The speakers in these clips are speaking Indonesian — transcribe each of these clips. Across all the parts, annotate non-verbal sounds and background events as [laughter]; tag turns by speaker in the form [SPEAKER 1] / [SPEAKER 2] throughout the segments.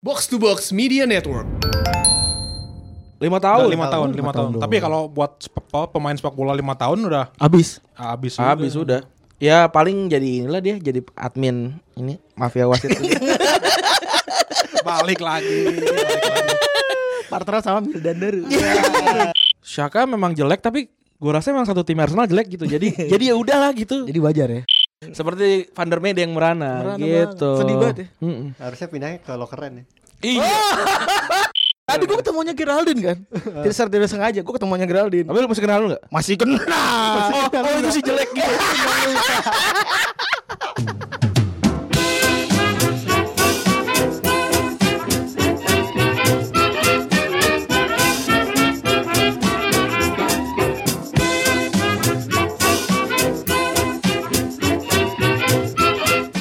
[SPEAKER 1] Box to Box Media Network.
[SPEAKER 2] lima tahun
[SPEAKER 3] lima tahun,
[SPEAKER 2] Lima
[SPEAKER 3] lima tahun.
[SPEAKER 2] doang.
[SPEAKER 3] Tapi kalau buat sepak- apa, pemain sepak bola lima tahun udah
[SPEAKER 4] Abis.
[SPEAKER 3] habis.
[SPEAKER 2] habis sudah ya paling jadi inilah dia jadi admin ini mafia wasit
[SPEAKER 3] Balik lagi. balik lagi.
[SPEAKER 4] Partner sama Mildan Daru. [laughs]
[SPEAKER 5] Iya.
[SPEAKER 4] Shaka memang jelek tapi gue rasa memang satu tim Arsenal jelek gitu. [laughs] Jadi jadi ya udahlah gitu.
[SPEAKER 5] Jadi wajar ya.
[SPEAKER 4] Seperti Van der Mede yang merana,
[SPEAKER 5] Merana
[SPEAKER 4] gitu.
[SPEAKER 5] banget. Sedih banget ya.
[SPEAKER 4] Mm-mm. Iya.
[SPEAKER 6] Harusnya pindahnya ke lokeran ya.
[SPEAKER 5] Tadi gue ketemunya Geraldin [laughs] kan. Tidak secara tidak sengaja gue ketemunya Geraldin.
[SPEAKER 4] Tapi lu masih kenal lu gak?
[SPEAKER 5] Masih kenal. Oh, oh, itu si jelek gitu.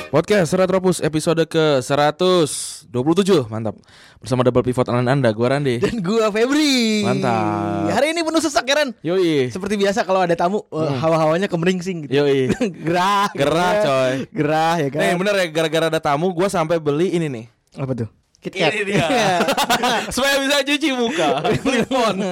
[SPEAKER 4] Podcast Retropus episode ke 127 Mantap Bersama double pivot anan anda Gue Randi [laughs]
[SPEAKER 5] Dan gue kan? Febri.
[SPEAKER 4] Mantap.
[SPEAKER 5] Hari ini penuh sesak ya Ren.
[SPEAKER 4] Yoi
[SPEAKER 5] Seperti biasa kalau ada tamu eh, hawa-hawanya kemeringsing gitu.
[SPEAKER 4] [laughs] Yoi
[SPEAKER 5] [laughs] gerah.
[SPEAKER 4] Gerah
[SPEAKER 5] gitu ya.
[SPEAKER 4] coy
[SPEAKER 5] Gerah ya kan.
[SPEAKER 4] Nih bener ya gara-gara ada tamu Gue sampai beli ini nih
[SPEAKER 5] Apa tuh?
[SPEAKER 6] KitKat.
[SPEAKER 4] [laughs] Supaya bisa cuci muka [laughs] Beli font
[SPEAKER 5] [laughs]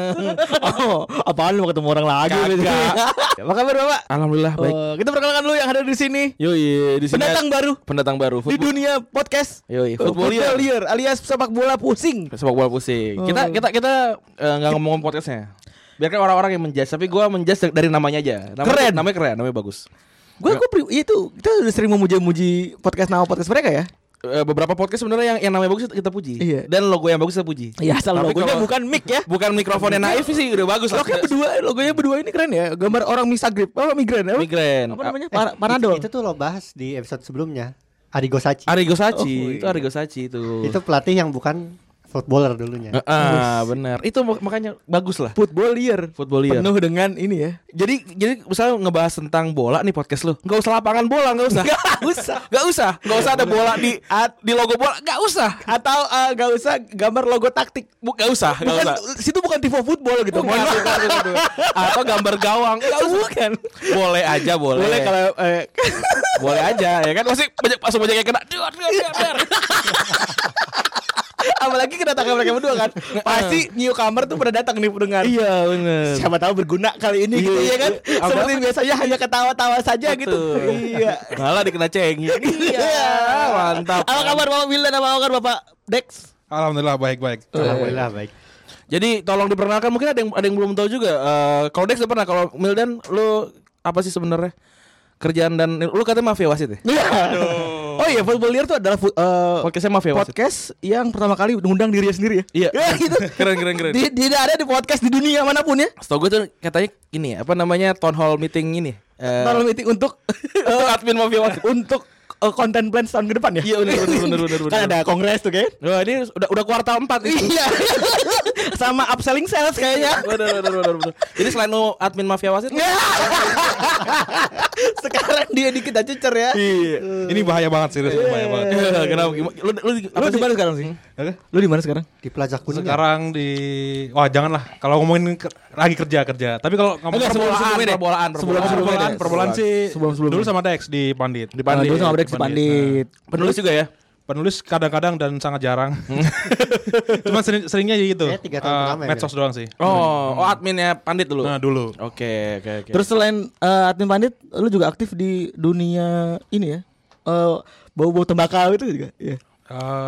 [SPEAKER 5] oh, apaan lu mau ketemu orang
[SPEAKER 4] Iya,
[SPEAKER 5] lagi?
[SPEAKER 4] [laughs]
[SPEAKER 5] gitu? [laughs]
[SPEAKER 4] Kagak.
[SPEAKER 5] Apa kabar Bapak?
[SPEAKER 4] Alhamdulillah baik
[SPEAKER 5] Eh, kita perkenalkan dulu yang ada di sini.
[SPEAKER 4] Oh. Yoi di sini
[SPEAKER 5] Pendatang baru
[SPEAKER 4] Pendatang baru
[SPEAKER 5] di dunia podcast.
[SPEAKER 4] Yoi
[SPEAKER 5] Eh,
[SPEAKER 4] Footballier
[SPEAKER 5] footballier alias sepak bola pusing.
[SPEAKER 4] Sepak bola
[SPEAKER 5] Oh.
[SPEAKER 4] pusing Kita kita kita eh, nggak ngomong podcastnya Biarkan orang-orang yang menjudge Tapi gue menjudge dari namanya aja Namanya-
[SPEAKER 5] Keren.
[SPEAKER 4] Namanya keren Namanya bagus
[SPEAKER 5] Gue gue itu kita udah sering memuja-muji podcast nama podcast mereka ya.
[SPEAKER 4] Eh, beberapa podcast sebenarnya yang yang namanya bagus kita puji
[SPEAKER 5] Iya.
[SPEAKER 4] dan logo yang bagus kita puji
[SPEAKER 5] Iya, asal
[SPEAKER 4] Tapi
[SPEAKER 5] logonya
[SPEAKER 4] kalau-
[SPEAKER 5] bukan mic ya.
[SPEAKER 4] bukan mikrofon yang naif sih udah bagus lah
[SPEAKER 5] [laughs] Logonya berdua, logonya berdua ini keren ya. Gambar orang misagrip, apa migran apa?
[SPEAKER 4] migren
[SPEAKER 5] Apa namanya?
[SPEAKER 6] Eh,
[SPEAKER 5] Par- Panadol.
[SPEAKER 6] Itu, itu tuh lo bahas di episode sebelumnya. Arigo Sachi.
[SPEAKER 4] A- Arigo Sachi
[SPEAKER 5] Oh,
[SPEAKER 4] eh, itu Arigo Sachi itu
[SPEAKER 6] itu pelatih yang bukan footballer
[SPEAKER 4] Ah,
[SPEAKER 6] dulunya.
[SPEAKER 4] ah benar itu mak- makanya bagus lah iya.
[SPEAKER 5] Footballier.
[SPEAKER 4] footballier
[SPEAKER 5] Penuh dengan ini ya.
[SPEAKER 4] jadi jadi misalnya ngebahas tentang bola nih podcast lu nggak usah lapangan bola nggak usah nggak usah [laughs] nggak usah nggak usah ada bola di di logo bola nggak usah
[SPEAKER 5] Atau eh, nggak usah gambar logo taktik.
[SPEAKER 4] Bu- nggak usah nggak
[SPEAKER 5] Bukan
[SPEAKER 4] usah
[SPEAKER 5] situ bukan tifo football gitu.
[SPEAKER 4] Bukan,
[SPEAKER 5] Mohon
[SPEAKER 4] bukan, bukan, bukan. atau gambar gawang nggak usah
[SPEAKER 5] Bukan.
[SPEAKER 4] boleh aja boleh
[SPEAKER 5] Boleh kalau eh,
[SPEAKER 4] boleh aja ya kan masih banyak langsung banyak yang kena Duar, duar, duar, duar.
[SPEAKER 5] [laughs] apalagi kedatangan mereka berdua kan. Pasti newcomer tuh pernah datang nih pendengar.
[SPEAKER 4] iya benar
[SPEAKER 5] Siapa tahu berguna kali ini gitu
[SPEAKER 4] Iya.
[SPEAKER 5] ya kan.
[SPEAKER 4] Apa-
[SPEAKER 5] Seperti biasanya hanya ketawa-tawa saja gitu.
[SPEAKER 4] Betul.
[SPEAKER 5] Iya.
[SPEAKER 4] malah dikena cengeng iya mantap
[SPEAKER 5] Apa kabar Bapak Wildan? Apa kabar Bapak Dex?
[SPEAKER 3] Alhamdulillah baik-baik.
[SPEAKER 6] Alhamdulillah baik.
[SPEAKER 4] jadi tolong diperkenalkan mungkin ada yang ada yang belum tahu juga Eh, kalau Dex udah pernah kalau Mildan lu apa sih sebenarnya kerjaan dan lu katanya mafia wasit ya
[SPEAKER 5] Iya. Oh iya, Footballier itu adalah fu- eh,
[SPEAKER 4] podcastnya mafia wasit
[SPEAKER 5] podcast yang pertama kali ngundang dirinya sendiri ya.
[SPEAKER 4] Oh,
[SPEAKER 5] [laughs]
[SPEAKER 4] Iya.
[SPEAKER 5] Ya, gitu.
[SPEAKER 4] Keren, keren, keren. Eh.
[SPEAKER 5] Di- Tidak ada di podcast di dunia manapun ya.
[SPEAKER 4] setahu gue tuh katanya ini ya, apa namanya town hall meeting ini Eh,
[SPEAKER 5] Tolong meeting untuk
[SPEAKER 4] [laughs] untuk admin mafia wasit
[SPEAKER 5] untuk eh, konten plan tahun ke depan ya.
[SPEAKER 4] Iya, bener, bener, bener, bener,
[SPEAKER 5] Kan
[SPEAKER 4] bener.
[SPEAKER 5] ada kongres tuh
[SPEAKER 4] [laughs]
[SPEAKER 5] kan.
[SPEAKER 4] Wah, ini udah udah kuartal 4
[SPEAKER 5] Iya. Sama upselling sales kayaknya.
[SPEAKER 4] [laughs] Bener, bener, bener, bener. Jadi selain lu admin mafia wasit, lu-
[SPEAKER 5] Sekarang dia dikit aja cer ya.
[SPEAKER 4] Iya.
[SPEAKER 3] Ini bahaya banget serius, ini bahaya banget.
[SPEAKER 4] Eh, kenapa? Gimana? Lu, lu, apa
[SPEAKER 5] Lu di
[SPEAKER 4] sih?
[SPEAKER 5] mana sekarang sih?
[SPEAKER 3] Oke.
[SPEAKER 5] Lu di mana sekarang?
[SPEAKER 6] Di Plaza Kuningan.
[SPEAKER 3] Sekarang di wah janganlah kalau ngomongin ke- lagi kerja kerja. Tapi kalau ngomongin
[SPEAKER 4] Enggak, sebelum- sebelum ini.
[SPEAKER 3] perbolaan,
[SPEAKER 4] Sebelum-
[SPEAKER 3] perbolaan,
[SPEAKER 4] sebelum ini.
[SPEAKER 3] perbolaan, perbolaan sih
[SPEAKER 5] Sebelum- sebelum
[SPEAKER 3] dulu
[SPEAKER 5] ini.
[SPEAKER 3] sama Dex di Pandit. Di
[SPEAKER 5] Nah, dulu sama Dex di Pandit.
[SPEAKER 4] Penulis juga ya?
[SPEAKER 3] Penulis kadang-kadang dan sangat jarang. Cuma sering- seringnya gitu.
[SPEAKER 6] Eh, tiga tahun
[SPEAKER 3] Eh,
[SPEAKER 6] pertama ya,
[SPEAKER 3] medsos doang sih.
[SPEAKER 4] Oh, oh adminnya Pandit dulu.
[SPEAKER 3] Nah, dulu.
[SPEAKER 4] Oke, oke, oke.
[SPEAKER 5] Terus selain eh, admin pandit, lu juga aktif di dunia ini ya. Eh, bau-bau tembakau itu juga. Iya.
[SPEAKER 3] Eh,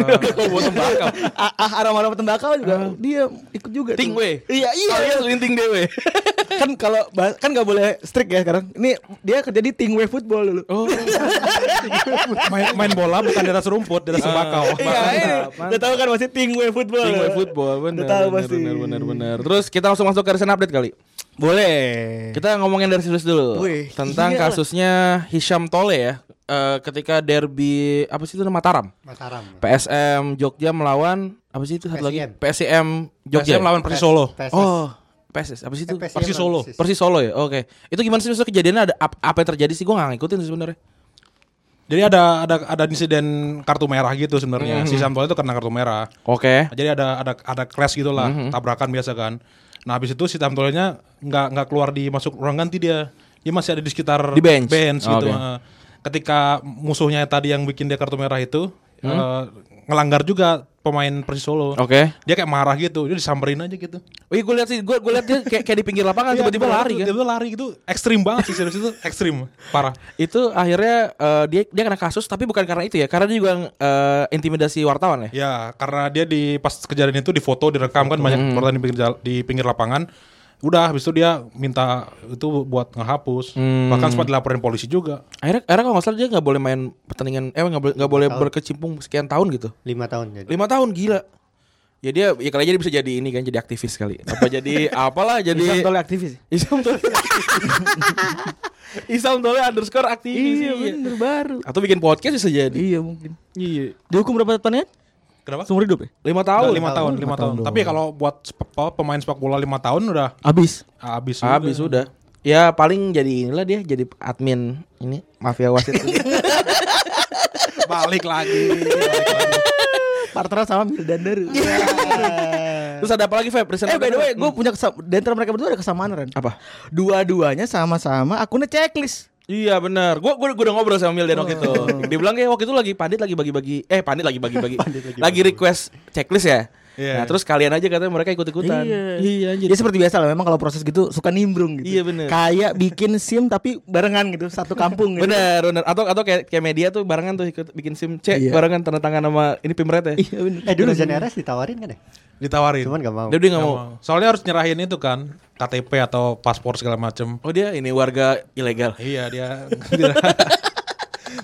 [SPEAKER 4] buat tembakau.
[SPEAKER 5] Ah, ah, aroma-aroma tembakau juga dia ikut juga.
[SPEAKER 4] Ting,
[SPEAKER 5] tuh.
[SPEAKER 4] weh.
[SPEAKER 5] Iya, iya.
[SPEAKER 4] Oh, iya, linting dewe.
[SPEAKER 5] [laughs] kan kalau bah- kan nggak boleh strict ya sekarang. Ini dia kerja di Tingwe Football dulu. Oh,
[SPEAKER 3] main, main bola bukan di atas rumput, di atas tembakau.
[SPEAKER 5] iya. ini. Udah tahu kan masih Tingwe Football.
[SPEAKER 4] Ting weh
[SPEAKER 5] Ya.
[SPEAKER 4] football,
[SPEAKER 5] Udah
[SPEAKER 4] benar.
[SPEAKER 5] tahu
[SPEAKER 4] Benar,
[SPEAKER 5] pasti.
[SPEAKER 4] benar, benar, benar. Terus kita langsung masuk ke recent update kali.
[SPEAKER 5] Boleh.
[SPEAKER 4] Kita ngomongin dari serius dulu
[SPEAKER 5] Wih,
[SPEAKER 4] tentang
[SPEAKER 5] iyalah.
[SPEAKER 4] kasusnya Hisham Tole ya. Eh, ketika derby apa sih itu nama Mataram?
[SPEAKER 6] Mataram.
[SPEAKER 4] PSM Jogja melawan apa sih itu satu lagi?
[SPEAKER 6] PSIM.
[SPEAKER 4] PSM Jogja.
[SPEAKER 3] Jogja melawan Persis Solo.
[SPEAKER 6] PSS.
[SPEAKER 4] Oh, PSS apa sih
[SPEAKER 6] Eh,
[SPEAKER 4] itu?
[SPEAKER 6] PSIM
[SPEAKER 3] Persis Solo.
[SPEAKER 6] Persis.
[SPEAKER 4] Persis Solo ya. Oke. Itu gimana sih maksudnya kejadiannya ada ap- apa yang terjadi sih? Gue nggak ngikutin sih sebenarnya.
[SPEAKER 3] Jadi ada ada ada insiden kartu merah gitu sebenarnya.
[SPEAKER 4] Mm-hmm.
[SPEAKER 3] Si Sam Tole itu kena kartu merah.
[SPEAKER 4] Oke.
[SPEAKER 3] Jadi ada ada ada crash gitu lah,
[SPEAKER 4] Mm-hmm.
[SPEAKER 3] tabrakan biasa kan. Nah, habis itu si Tamtolenya nggak nggak keluar di masuk ruang ganti dia. Dia masih ada di sekitar
[SPEAKER 4] Di bench? Oh,
[SPEAKER 3] gitu.
[SPEAKER 4] Oke.
[SPEAKER 3] Heeh.
[SPEAKER 4] Mm-hmm.
[SPEAKER 3] Ketika musuhnya tadi yang bikin dia kartu merah itu eh, ngelanggar juga pemain Persis Solo.
[SPEAKER 4] Oke.
[SPEAKER 3] Dia kayak marah gitu, dia disamperin aja gitu.
[SPEAKER 4] Wih, gue lihat sih, gue gue lihat dia kayak kayak di pinggir [laughs] lapangan
[SPEAKER 3] Iya,
[SPEAKER 4] tiba-tiba lari kan.
[SPEAKER 3] Tiba-tiba lari itu ekstrim banget sih serius itu ekstrim parah.
[SPEAKER 4] Itu akhirnya eh, dia dia kena kasus tapi bukan karena itu ya, karena dia juga eh, intimidasi wartawan ya.
[SPEAKER 3] Ya karena dia di pas kejadian itu difoto direkam kan banyak
[SPEAKER 4] Mm-hmm.
[SPEAKER 3] wartawan di pinggir jal- di pinggir lapangan. Udah habis itu dia minta itu buat ngehapus.
[SPEAKER 4] Mm.
[SPEAKER 3] Bahkan sempat dilaporin polisi juga.
[SPEAKER 4] Akhirnya akhirnya kalau nggak salah dia nggak boleh main pertandingan, eh nggak boleh nggak boleh berkecimpung sekian tahun gitu.
[SPEAKER 6] lima tahun jadi.
[SPEAKER 4] Lima tahun gila. Ya dia ya kali aja dia bisa jadi ini kan jadi aktivis kali. Apa [laughs] jadi apalah
[SPEAKER 5] Isam
[SPEAKER 4] jadi
[SPEAKER 5] Tole aktivis.
[SPEAKER 4] Isam Tole. [laughs] Isam Tole underscore aktivis.
[SPEAKER 5] Iya bener baru.
[SPEAKER 4] Atau bikin podcast bisa jadi.
[SPEAKER 5] Iya mungkin. Iya. Dihukum berapa tahun ya?
[SPEAKER 3] Kenapa?
[SPEAKER 5] Seumur hidup ya?
[SPEAKER 4] Lima
[SPEAKER 3] Tahun,
[SPEAKER 4] tahun.
[SPEAKER 3] lima tahun, lima tahun. Tapi kalau buat sepak- apa, pemain sepak bola lima tahun udah
[SPEAKER 5] Abis.
[SPEAKER 3] habis. juga.
[SPEAKER 4] Habis udah.
[SPEAKER 2] Ya paling jadi inilah dia jadi admin ini mafia
[SPEAKER 4] [laughs]
[SPEAKER 2] wasit.
[SPEAKER 3] [laughs] Balik lagi. balik lagi.
[SPEAKER 5] Partner sama Mildan Daru.
[SPEAKER 4] Terus ada apa lagi Feb? Presenter
[SPEAKER 5] eh by the way,
[SPEAKER 4] kedua.
[SPEAKER 5] gue punya kesam di antara mereka berdua ada kesamaan Ren.
[SPEAKER 4] apa?
[SPEAKER 5] Dua-duanya sama-sama akunnya checklist.
[SPEAKER 4] Iya benar. Gua, gua gua udah ngobrol sama Mildan waktu itu. Dia bilang kayak waktu itu lagi Pandit lagi bagi-bagi eh [laughs] Pandit lagi bagi-bagi. lagi, request checklist ya.
[SPEAKER 3] Iya.
[SPEAKER 4] Nah, terus kalian aja katanya mereka ikut-ikutan.
[SPEAKER 5] Iya anjir. Ya seperti biasa lah memang kalau proses gitu suka nimbrung gitu.
[SPEAKER 4] Iya, bener.
[SPEAKER 5] Kayak bikin SIM tapi barengan gitu, satu kampung gitu.
[SPEAKER 4] Bener, bener. Atau atau kayak, kayak media tuh barengan tuh ikut bikin SIM C
[SPEAKER 5] Iya.
[SPEAKER 4] barengan tanda tangan sama ini pimret ya.
[SPEAKER 5] Iya bener.
[SPEAKER 6] Eh dulu Jan Eres ditawarin kan ya?
[SPEAKER 3] Ditawarin.
[SPEAKER 6] Cuman gak mau.
[SPEAKER 4] Dia udah nggak mau.
[SPEAKER 3] Soalnya harus nyerahin itu kan KTP atau paspor segala macem.
[SPEAKER 4] Oh dia ini warga ilegal.
[SPEAKER 3] Iya
[SPEAKER 4] [laughs]
[SPEAKER 3] dia tidak,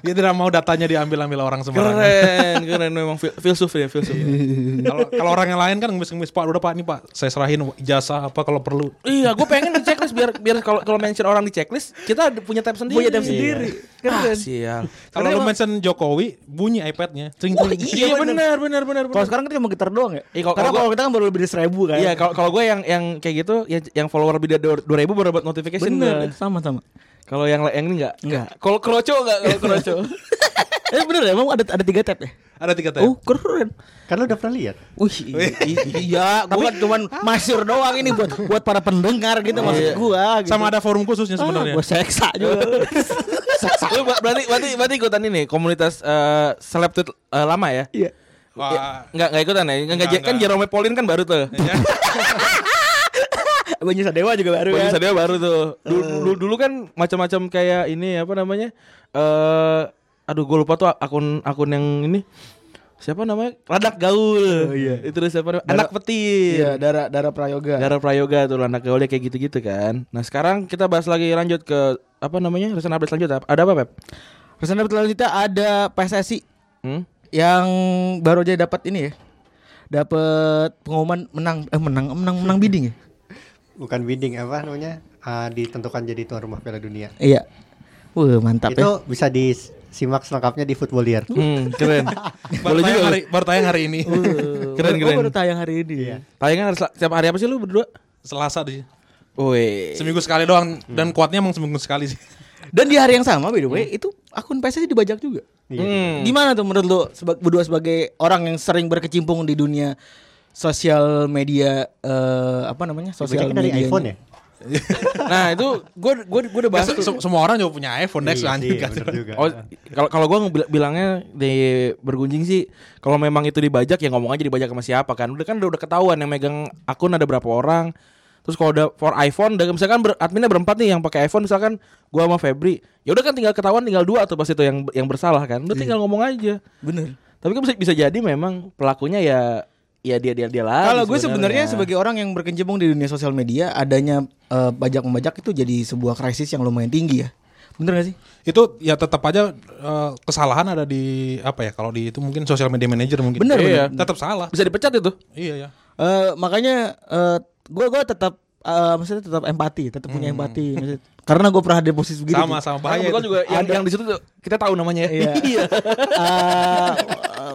[SPEAKER 3] dia tidak mau datanya diambil ambil orang sembarangan.
[SPEAKER 4] Keren, keren memang fil- filsuf dia, filsuf. [laughs]
[SPEAKER 3] Hmm. Kalau kalau orang yang lain kan ngemis-ngemis Pak udah Pak ini Pak saya serahin ijazah apa kalau perlu.
[SPEAKER 4] iya, gue pengen di checklist biar biar kalau kalau mention orang di checklist kita ada- punya tab sendiri.
[SPEAKER 5] Punya tab sendiri. Kan
[SPEAKER 4] Iya. Ah,
[SPEAKER 5] Keren.
[SPEAKER 4] sial.
[SPEAKER 3] Kalau lu mention Jokowi bunyi iPadnya. Cing,
[SPEAKER 5] Oh,
[SPEAKER 3] cing.
[SPEAKER 4] Iya benar, benar, benar, benar.
[SPEAKER 5] Kalau sekarang kan cuma gitar doang ya.
[SPEAKER 4] Iya, kalau-
[SPEAKER 5] Karena
[SPEAKER 4] kalau
[SPEAKER 5] kalau kita kan baru lebih dari seribu kan.
[SPEAKER 4] Iya, kalau kalau gue yang yang kayak gitu yang, yang follower lebih dari dua ribu baru dapat notification.
[SPEAKER 5] bener.
[SPEAKER 4] gua.
[SPEAKER 5] Sama-sama.
[SPEAKER 4] Kalau yang yang ini enggak?
[SPEAKER 5] Enggak.
[SPEAKER 4] Kalau kroco enggak? Kalau kroco.
[SPEAKER 5] [laughs] eh bener ya, emang ada ada tiga tab ya.
[SPEAKER 3] Ada tiga tab.
[SPEAKER 5] Oh keren.
[SPEAKER 6] Kan lu udah pernah lihat.
[SPEAKER 5] [laughs] Wih, i- i- iya, gua kan cuman masyur doang ini buat buat para pendengar gitu maksud gua gitu.
[SPEAKER 3] Sama ada forum khususnya
[SPEAKER 5] Ah,
[SPEAKER 3] sebenarnya.
[SPEAKER 5] gua seksa [laughs] juga. seksa.
[SPEAKER 4] Lu ba- berarti berarti berarti ikutan ini komunitas eh, seleb tweet eh, lama ya?
[SPEAKER 5] Iya.
[SPEAKER 3] Wah.
[SPEAKER 4] Enggak enggak ikutan ya? Enggak,
[SPEAKER 3] Nggak,
[SPEAKER 4] kan
[SPEAKER 3] nggak.
[SPEAKER 4] Jerome Pauline kan baru tuh.
[SPEAKER 3] Ya.
[SPEAKER 5] Gua nyisa dewa juga baru
[SPEAKER 4] Baju
[SPEAKER 5] kan.
[SPEAKER 4] sadeo baru tuh. Dulu, dulu, dulu kan macam-macam kayak ini apa namanya? Eh aduh gue lupa tuh akun akun yang ini siapa namanya? Landak Gaul.
[SPEAKER 5] iya.
[SPEAKER 4] Itu dia siapa? namanya? Anak petir.
[SPEAKER 5] Iya, darah darah prayoga.
[SPEAKER 4] Gara Prayoga tuh Landak Gaulnya kayak gitu-gitu kan. Nah, sekarang kita bahas lagi lanjut ke apa namanya? Recent update lanjut ada apa, Pep?
[SPEAKER 5] Pesan dapat selanjutnya ada PSSI
[SPEAKER 4] Hmm?
[SPEAKER 5] yang baru aja dapat ini ya. Dapat pengumuman menang eh menang menang menang bidding ya.
[SPEAKER 6] Bukan bidding apa namanya? Ah, ditentukan jadi tuan rumah Piala Dunia.
[SPEAKER 5] Iya. Wah, mantap
[SPEAKER 6] itu
[SPEAKER 5] [laughs] ya.
[SPEAKER 6] bisa disimak selengkapnya di Footballier.
[SPEAKER 4] Hmm, keren.
[SPEAKER 3] Baru tayang hari, baru tayang hari ini.
[SPEAKER 4] Keren,
[SPEAKER 5] Gua
[SPEAKER 4] keren.
[SPEAKER 5] baru tayang hari ini.
[SPEAKER 6] Iya.
[SPEAKER 4] Tayangan kan harus setiap hari apa sih lu berdua?
[SPEAKER 3] Selasa
[SPEAKER 5] Eh.
[SPEAKER 3] sih.
[SPEAKER 4] Woi.
[SPEAKER 3] Seminggu sekali doang dan kuatnya emang seminggu sekali sih.
[SPEAKER 5] Dan di hari yang sama by the way, itu akun PSSI dibajak juga. Gimana tuh menurut lo seba- berdua sebagai orang yang sering berkecimpung di dunia sosial media eh, apa namanya? Sosial
[SPEAKER 6] Dibacakan dari
[SPEAKER 5] media.
[SPEAKER 6] iPhone ya?
[SPEAKER 4] Nah, itu gue gue gue udah bahas
[SPEAKER 3] Ya, Se- se- Semua orang juga punya iPhone next
[SPEAKER 6] Iya
[SPEAKER 3] anjing
[SPEAKER 6] sih,
[SPEAKER 3] kan.
[SPEAKER 6] bener juga. Ah,
[SPEAKER 4] Oh, kalau kalau gua ngebila- bilangnya di bergunjing sih, kalau memang itu dibajak ya ngomong aja dibajak sama siapa kan. Udah kan udah, udah ketahuan yang megang akun ada berapa orang. Terus kalau udah for iPhone, udah- misalkan ber, adminnya berempat nih yang pakai iPhone misalkan gua sama Febri, ya udah kan tinggal ketahuan tinggal dua tuh pas itu yang yang bersalah kan. Udah tinggal ngomong aja.
[SPEAKER 5] Bener.
[SPEAKER 4] Tapi kan bisa bisa jadi memang pelakunya ya ya dia dia dia lah.
[SPEAKER 5] Kalau gue sebenarnya sebagai orang yang berkecimpung di dunia sosial media, adanya eh, bajak membajak itu jadi sebuah krisis yang lumayan tinggi ya. Bener gak sih?
[SPEAKER 3] itu ya tetap aja eh, kesalahan ada di apa ya kalau di itu mungkin social media manager mungkin
[SPEAKER 5] Bener,
[SPEAKER 3] Iya,
[SPEAKER 5] bener.
[SPEAKER 3] tetap salah
[SPEAKER 4] bisa dipecat itu.
[SPEAKER 3] iya ya
[SPEAKER 5] Eh, makanya eh, gue gue tetap eh, maksudnya tetap empati, tetap punya empati. Maksudnya- karena gue pernah di posisi begitu.
[SPEAKER 3] sama sama bahaya
[SPEAKER 4] Kebetulan
[SPEAKER 3] itu.
[SPEAKER 4] juga yang, yang di situ tuh kita tahu namanya [laughs] ya.
[SPEAKER 5] Iya. Eh,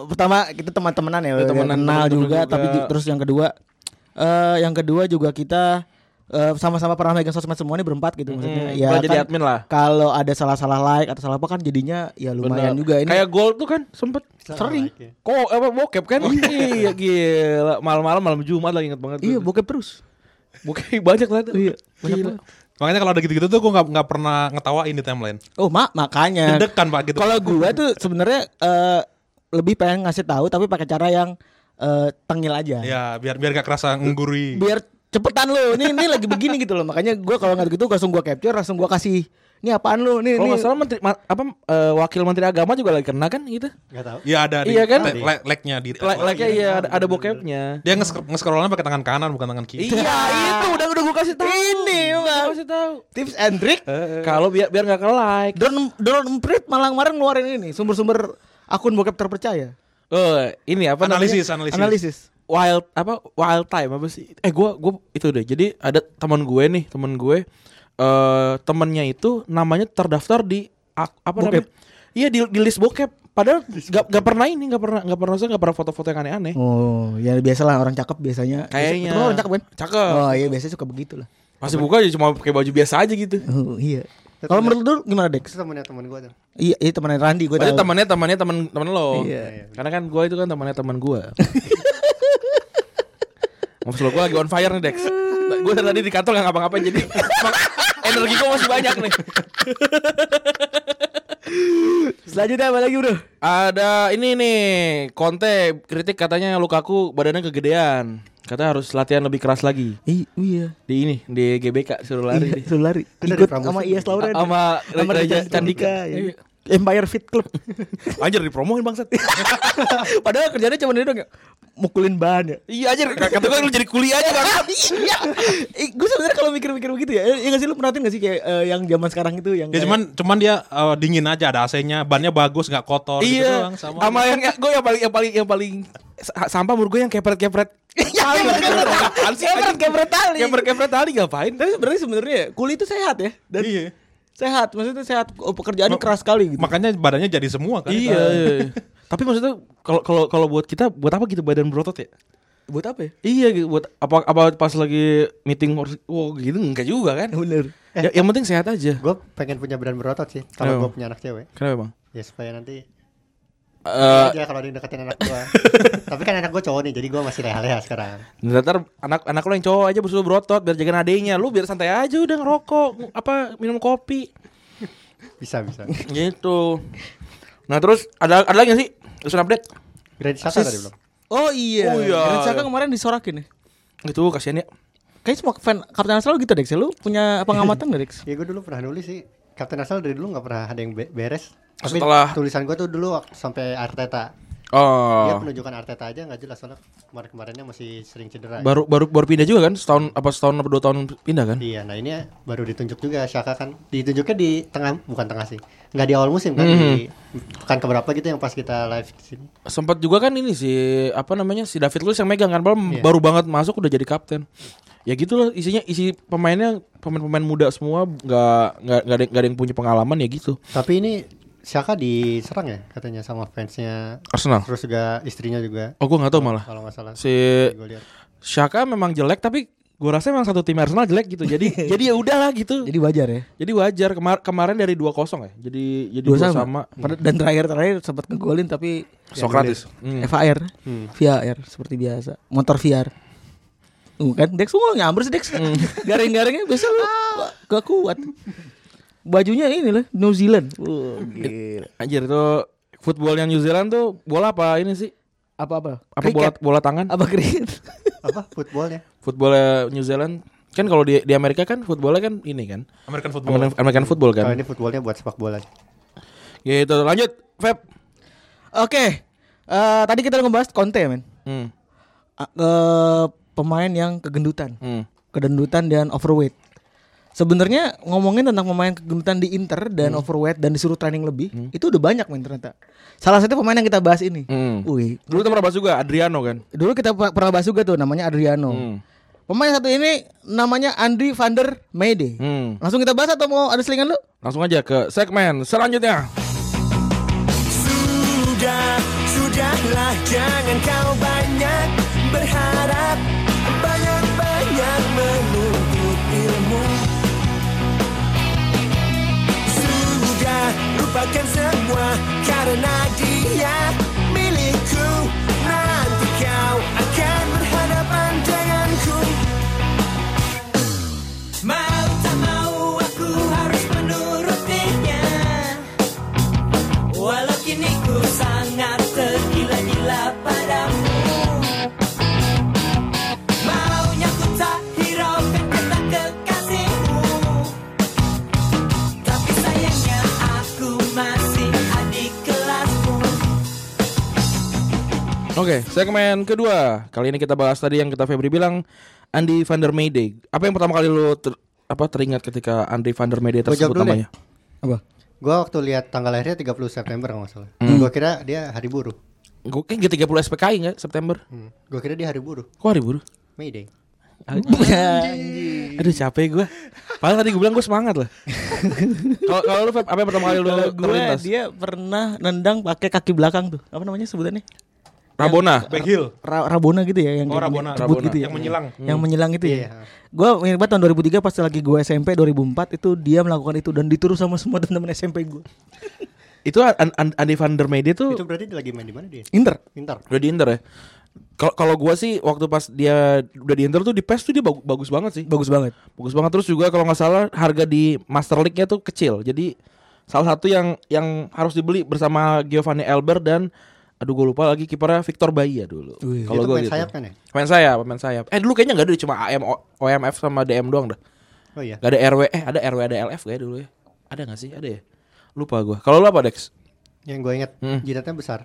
[SPEAKER 5] pertama kita teman-temanan ya,
[SPEAKER 4] Iya, temenan,
[SPEAKER 5] kenal
[SPEAKER 4] temen-temen
[SPEAKER 5] juga,
[SPEAKER 4] juga.
[SPEAKER 5] tapi ju- terus yang kedua, eh yang kedua juga kita eh, sama-sama pernah megang sosmed semua ini berempat gitu maksudnya.
[SPEAKER 4] Hmm, pernah jadi admin lah.
[SPEAKER 5] Kalau ada salah-salah like atau salah apa kan jadinya ya lumayan juga ini.
[SPEAKER 4] Kayak gold tuh kan sempet
[SPEAKER 6] Sering. like, ya.
[SPEAKER 4] Kok apa bokep kan? iya gila, malam-malam malam Jumat lagi inget banget.
[SPEAKER 5] iya
[SPEAKER 4] gua.
[SPEAKER 5] bokep terus.
[SPEAKER 4] bokep [laughs] banyak lah tuh. Iya.
[SPEAKER 5] Banyak banget.
[SPEAKER 3] makanya kalau ada gitu-gitu tuh gue nggak nggak pernah ngetawain di timeline
[SPEAKER 5] Oh, mak makanya.
[SPEAKER 3] dedekan pak gitu
[SPEAKER 5] Kalau gua tuh sebenarnya eh, lebih pengen ngasih tahu tapi pakai cara yang eh, tengil aja.
[SPEAKER 3] Ya, biar biar gak kerasa nggurui.
[SPEAKER 5] Biar cepetan lo. Ini ini lagi begini gitu loh. Makanya gua kalau nggak gitu langsung gua capture, langsung gua kasih. Ini apaan lo? Ini
[SPEAKER 4] Kalau
[SPEAKER 5] ini.
[SPEAKER 4] nggak salah menteri ma- apa eh, wakil menteri agama juga lagi kena kan gitu.
[SPEAKER 6] Gak tau.
[SPEAKER 3] Iya ada
[SPEAKER 4] Iya kan?
[SPEAKER 3] le- le- Lag-nya di
[SPEAKER 4] Like-nya iya ada, ada bokepnya.
[SPEAKER 3] Dia nge- nge-scrollnya pakai tangan kanan bukan tangan kiri.
[SPEAKER 4] [laughs]
[SPEAKER 5] Ya,
[SPEAKER 4] Iya itu udah udah gue kasih tahu.
[SPEAKER 5] Ini, Bang.
[SPEAKER 4] Gua kasih tahu.
[SPEAKER 5] Tips and trick.
[SPEAKER 4] Kalau biar biar nggak ke like.
[SPEAKER 5] Drone drone emprit malah kemarin ngeluarin ini sumber-sumber akun bokep terpercaya.
[SPEAKER 4] Eh ini apa
[SPEAKER 3] Analisis,
[SPEAKER 4] namanya?
[SPEAKER 3] analisis.
[SPEAKER 5] Analisis.
[SPEAKER 4] wild apa wild time apa sih eh gua gua itu deh jadi ada teman gue nih teman gue eh temennya itu namanya terdaftar di ak- apa namanya iya di, di list bokep padahal gak, gak pernah ini gak pernah gak pernah saya gak pernah foto-foto yang aneh-aneh
[SPEAKER 5] Oh, ya biasalah orang cakep biasanya.
[SPEAKER 4] Kayaknya.
[SPEAKER 5] Temen lu orang cakep kan?
[SPEAKER 4] Cakep.
[SPEAKER 5] Oh, iya biasanya suka begitu lah.
[SPEAKER 4] masih buka aja cuma pakai baju biasa aja gitu
[SPEAKER 5] Oh, iya. Kalau menurut lu gimana, Dex?
[SPEAKER 6] Itu temennya temen gue tuh.
[SPEAKER 5] Iya, iya temennya Randi gue
[SPEAKER 4] Padahal
[SPEAKER 5] tahu.
[SPEAKER 4] temannya temannya teman teman lo
[SPEAKER 5] Iya.
[SPEAKER 4] karena kan gue itu kan temannya teman gue [laughs] Maksud gue lagi on fire nih Dex Gue dari tadi di kantor gak ngapa-ngapain Jadi [laughs] energi gue masih banyak nih
[SPEAKER 5] Selanjutnya apa lagi, Bro?
[SPEAKER 4] Ada ini nih Conte kritik katanya Lukaku badannya kegedean Katanya harus latihan lebih keras lagi
[SPEAKER 5] I- iya.
[SPEAKER 4] Di ini di GBK suruh lari
[SPEAKER 5] Iya,
[SPEAKER 4] deh.
[SPEAKER 5] [laughs] suruh lari.
[SPEAKER 6] dari
[SPEAKER 5] Ikut
[SPEAKER 6] Pramusim.
[SPEAKER 5] sama IS Lauren.
[SPEAKER 4] Sama Raja Candika. Iya.
[SPEAKER 5] ya. Empire Fit
[SPEAKER 4] [laughs]
[SPEAKER 5] Club.
[SPEAKER 4] Anjir dipromoin bangsat
[SPEAKER 5] Padahal kerjanya cuma ini dong ya. Mukulin
[SPEAKER 4] [laughs]
[SPEAKER 5] bahan ya.
[SPEAKER 4] [laughs] Iya anjir kata gue lu jadi kuliah aja bangsat
[SPEAKER 5] iya. Gue sebenarnya kalau mikir-mikir begitu ya, ya nggak sih lu perhatiin nggak sih kayak eh, yang zaman sekarang itu yang
[SPEAKER 3] Dia
[SPEAKER 5] [laughs]
[SPEAKER 3] Ya,
[SPEAKER 5] kayak-
[SPEAKER 3] cuman cuman dia eh, dingin aja ada AC-nya, bannya bagus nggak kotor gitu
[SPEAKER 4] Iya
[SPEAKER 3] doang, sama.
[SPEAKER 4] Sama yang gue yang paling yang paling yang paling sa- sampah menurut gue yang kepret-kepret
[SPEAKER 5] Iya,
[SPEAKER 4] Tali. Apaan sih?
[SPEAKER 5] Kepret-kepret tali.
[SPEAKER 4] Kepret-kepret tali ngapain
[SPEAKER 5] Tapi sebenarnya sebenarnya ya, kuli itu sehat ya. Dan
[SPEAKER 3] Iya.
[SPEAKER 5] Sehat, maksudnya sehat. Oh, pekerjaannya keras sekali gitu.
[SPEAKER 3] Makanya badannya jadi semua kan.
[SPEAKER 4] Iya, iya, iya. [laughs] Tapi maksudnya kalau kalau kalau buat kita buat apa gitu badan berotot ya?
[SPEAKER 5] Buat apa ya?
[SPEAKER 4] Iya gitu, buat apa apa pas lagi meeting harus wow gitu enggak juga kan?
[SPEAKER 5] Bener.
[SPEAKER 4] Ya, yang penting sehat aja.
[SPEAKER 6] Gue pengen punya badan berotot sih.
[SPEAKER 4] Kenapa?
[SPEAKER 6] Kalau gue punya anak cewek.
[SPEAKER 4] Kenapa bang?
[SPEAKER 6] Ya supaya nanti
[SPEAKER 4] Eh,
[SPEAKER 6] aja kalau ada yang deketin anak
[SPEAKER 4] [laughs]
[SPEAKER 6] gue. Tapi kan anak gue cowok nih, jadi gue masih leha-leha sekarang.
[SPEAKER 4] ntar anak anak lo yang cowok aja bersuruh berotot biar jagain adenya, lu biar santai aja udah ngerokok ng- apa minum kopi
[SPEAKER 6] Bisa bisa.
[SPEAKER 4] gitu. Nah terus ada ada lagi nggak sih? Terus update
[SPEAKER 6] Grand Shaka tadi belum.
[SPEAKER 5] Oh iya.
[SPEAKER 4] Oh, iya.
[SPEAKER 5] Grand Saka kemarin disorakin ya.
[SPEAKER 4] itu kasihan ya.
[SPEAKER 5] Kayaknya semua fan Kapten Arsenal gitu Dex. Ya, Lu punya pengamatan gak Dex?
[SPEAKER 6] Ya gue dulu pernah nulis sih. Kapten Arsenal dari dulu nggak pernah ada yang be- beres. Tapi
[SPEAKER 4] Setelah-
[SPEAKER 6] tulisan gue tuh dulu waktu sampai Arteta. Dia
[SPEAKER 4] Oh.
[SPEAKER 6] penunjukan Arteta aja nggak jelas soalnya kemarin-kemarinnya masih sering cedera.
[SPEAKER 4] Baru baru baru pindah juga kan? Setahun apa setahun apa dua tahun pindah kan?
[SPEAKER 6] Iya, nah ini baru ditunjuk juga Shaka kan. Ditunjuknya di tengah, bukan tengah sih. Nggak di awal musim kan, di
[SPEAKER 4] Hmm.
[SPEAKER 6] pekan keberapa gitu yang pas kita live di sini.
[SPEAKER 4] sempat juga kan ini si apa namanya si David Luiz yang megang kan padahal
[SPEAKER 5] Iya.
[SPEAKER 4] baru banget masuk udah jadi kapten ya gitulah isinya isi pemainnya pemain-pemain muda semua nggak nggak nggak ada, nggak ada yang punya pengalaman ya gitu
[SPEAKER 6] Tapi ini Shaka diserang ya katanya sama fansnya.
[SPEAKER 4] Arsenal
[SPEAKER 6] Terus juga istrinya juga
[SPEAKER 4] oh gue nggak tahu malah
[SPEAKER 6] kalau nggak salah.
[SPEAKER 4] si
[SPEAKER 6] Gue lihat.
[SPEAKER 4] Shaka memang jelek tapi gue rasa memang satu tim Arsenal jelek gitu jadi
[SPEAKER 5] [laughs]
[SPEAKER 4] jadi ya udahlah gitu
[SPEAKER 5] Jadi wajar ya.
[SPEAKER 4] jadi wajar Kemar- kemarin dari 2-0 ya jadi jadi
[SPEAKER 5] Dua
[SPEAKER 4] dua
[SPEAKER 5] sama. Ya,
[SPEAKER 4] sama,
[SPEAKER 5] Pada- Dan terakhir-terakhir sempat ngegolin tapi
[SPEAKER 4] Sokrates Hmm.
[SPEAKER 5] FAR. VAR seperti biasa. Motor VAR. Tuh kan Dex lu nyamber sih Dex.
[SPEAKER 4] Hmm.
[SPEAKER 5] [laughs] Garing-garingnya biasa lu
[SPEAKER 4] Ah.
[SPEAKER 5] gak kuat. Bajunya ini lah New Zealand. Wah, gila.
[SPEAKER 4] anjir tuh football yang New Zealand tuh bola apa ini sih
[SPEAKER 5] Apa-apa?
[SPEAKER 4] apa bola bola tangan
[SPEAKER 5] Apa kriket?
[SPEAKER 6] Apa footballnya?
[SPEAKER 4] football New Zealand kan kalau di di Amerika kan footballnya kan ini kan
[SPEAKER 3] American football.
[SPEAKER 4] American, American football
[SPEAKER 6] Kalau
[SPEAKER 4] kan
[SPEAKER 6] Ah, ini footballnya buat sepak bola.
[SPEAKER 4] gitu lanjut Feb
[SPEAKER 5] [laughs] Oke. Eh, tadi kita udah ngebahas Conte men.
[SPEAKER 4] hmm.
[SPEAKER 5] A- eh, pemain yang kegendutan.
[SPEAKER 4] Hmm.
[SPEAKER 5] kedendutan dan overweight. Sebenarnya ngomongin tentang pemain kegendutan di Inter dan
[SPEAKER 4] Hmm.
[SPEAKER 5] overweight dan disuruh training lebih, itu udah banyak men ternyata. Salah satu pemain yang kita bahas ini.
[SPEAKER 4] Hmm.
[SPEAKER 5] Wih,
[SPEAKER 4] dulu tuh pernah bahas juga Adriano kan
[SPEAKER 5] dulu kita pa- pernah bahas juga tuh namanya Adriano.
[SPEAKER 4] Hmm.
[SPEAKER 5] Pemain satu ini namanya Andri van der Meijde.
[SPEAKER 4] Hmm.
[SPEAKER 5] Langsung kita bahas atau mau ada selingan lu?
[SPEAKER 4] langsung aja ke segmen selanjutnya
[SPEAKER 1] Sudah, sudahlah jangan kau banyak berharap Banyak-banyak menuntut ilmu Sudah, lupakan semua karena dia milikku Nanti kau akan berhadapan denganku Mau tak mau aku harus menurutinya Walau kini ku sangat tergila-gila padamu
[SPEAKER 4] Oke, segmen kedua. Kali ini kita bahas tadi yang kita Febri bilang Andy van der Meyde. Apa yang pertama kali lu ter- apa teringat ketika Andy van der Meyde
[SPEAKER 6] Gua jawab
[SPEAKER 4] tersebut
[SPEAKER 6] dulu
[SPEAKER 4] namanya?
[SPEAKER 5] Apa?
[SPEAKER 6] Gue waktu lihat tanggal lahirnya 30 September kalau nggak salah.
[SPEAKER 5] Hmm.
[SPEAKER 6] Gue kira dia hari buruh.
[SPEAKER 4] Gue kayaknya 30 SPKI nggak September.
[SPEAKER 6] Hmm. Gue kira dia hari buruh.
[SPEAKER 4] Kok hari buruh?
[SPEAKER 6] May Day.
[SPEAKER 4] Aduh capek gue. Padahal tadi gue bilang gue semangat
[SPEAKER 6] [laughs]
[SPEAKER 4] lah. Kalau kalau lu Feb, apa yang pertama kali lu
[SPEAKER 5] Gue
[SPEAKER 4] terlintas?
[SPEAKER 5] dia pernah nendang pakai kaki belakang tuh. Apa namanya sebutannya?
[SPEAKER 4] Rabona.
[SPEAKER 3] Back heel.
[SPEAKER 5] Ra- Rabona gitu ya yang
[SPEAKER 3] Oh,
[SPEAKER 5] kayak
[SPEAKER 3] Rabona.
[SPEAKER 5] gini, cebut
[SPEAKER 3] Rabona.
[SPEAKER 5] gitu ya.
[SPEAKER 3] Yang menyilang.
[SPEAKER 5] Yang menyilang itu
[SPEAKER 6] Iya.
[SPEAKER 5] ya. Gue ingat banget tahun 2003 pas lagi gue SMP 2004 itu dia melakukan itu dan dituruh sama semua [laughs] teman-teman SMP gue.
[SPEAKER 4] Itu An- An- Andy van der Meyde tuh
[SPEAKER 6] Itu berarti dia lagi main di mana dia?
[SPEAKER 5] Inter.
[SPEAKER 6] Inter.
[SPEAKER 4] udah di Inter ya. Kalau kalau gue sih waktu pas dia udah di Inter tuh di PES tuh dia bagu- bagus banget sih.
[SPEAKER 5] Bagus banget.
[SPEAKER 4] Bagus banget terus juga kalau nggak salah harga di Master League-nya tuh kecil. Jadi salah satu yang yang harus dibeli bersama Giovanni Elber dan aduh gue lupa lagi kipernya Victor Baia dulu. Kalau
[SPEAKER 6] Dia tuh
[SPEAKER 4] gue
[SPEAKER 6] main
[SPEAKER 4] gitu.
[SPEAKER 6] sayap kan ya?
[SPEAKER 4] Pemain sayap, pemain sayap. Eh dulu kayaknya nggak ada cuma AM, O- OMF sama DM doang dah.
[SPEAKER 6] Oh iya.
[SPEAKER 4] Gak ada RW, eh ada RW ada LF kayak dulu ya. Ada nggak sih? Ada ya? Lupa gua. Kalau lu apa Dex?
[SPEAKER 6] Yang gue inget
[SPEAKER 5] Hmm.
[SPEAKER 6] jidatnya besar.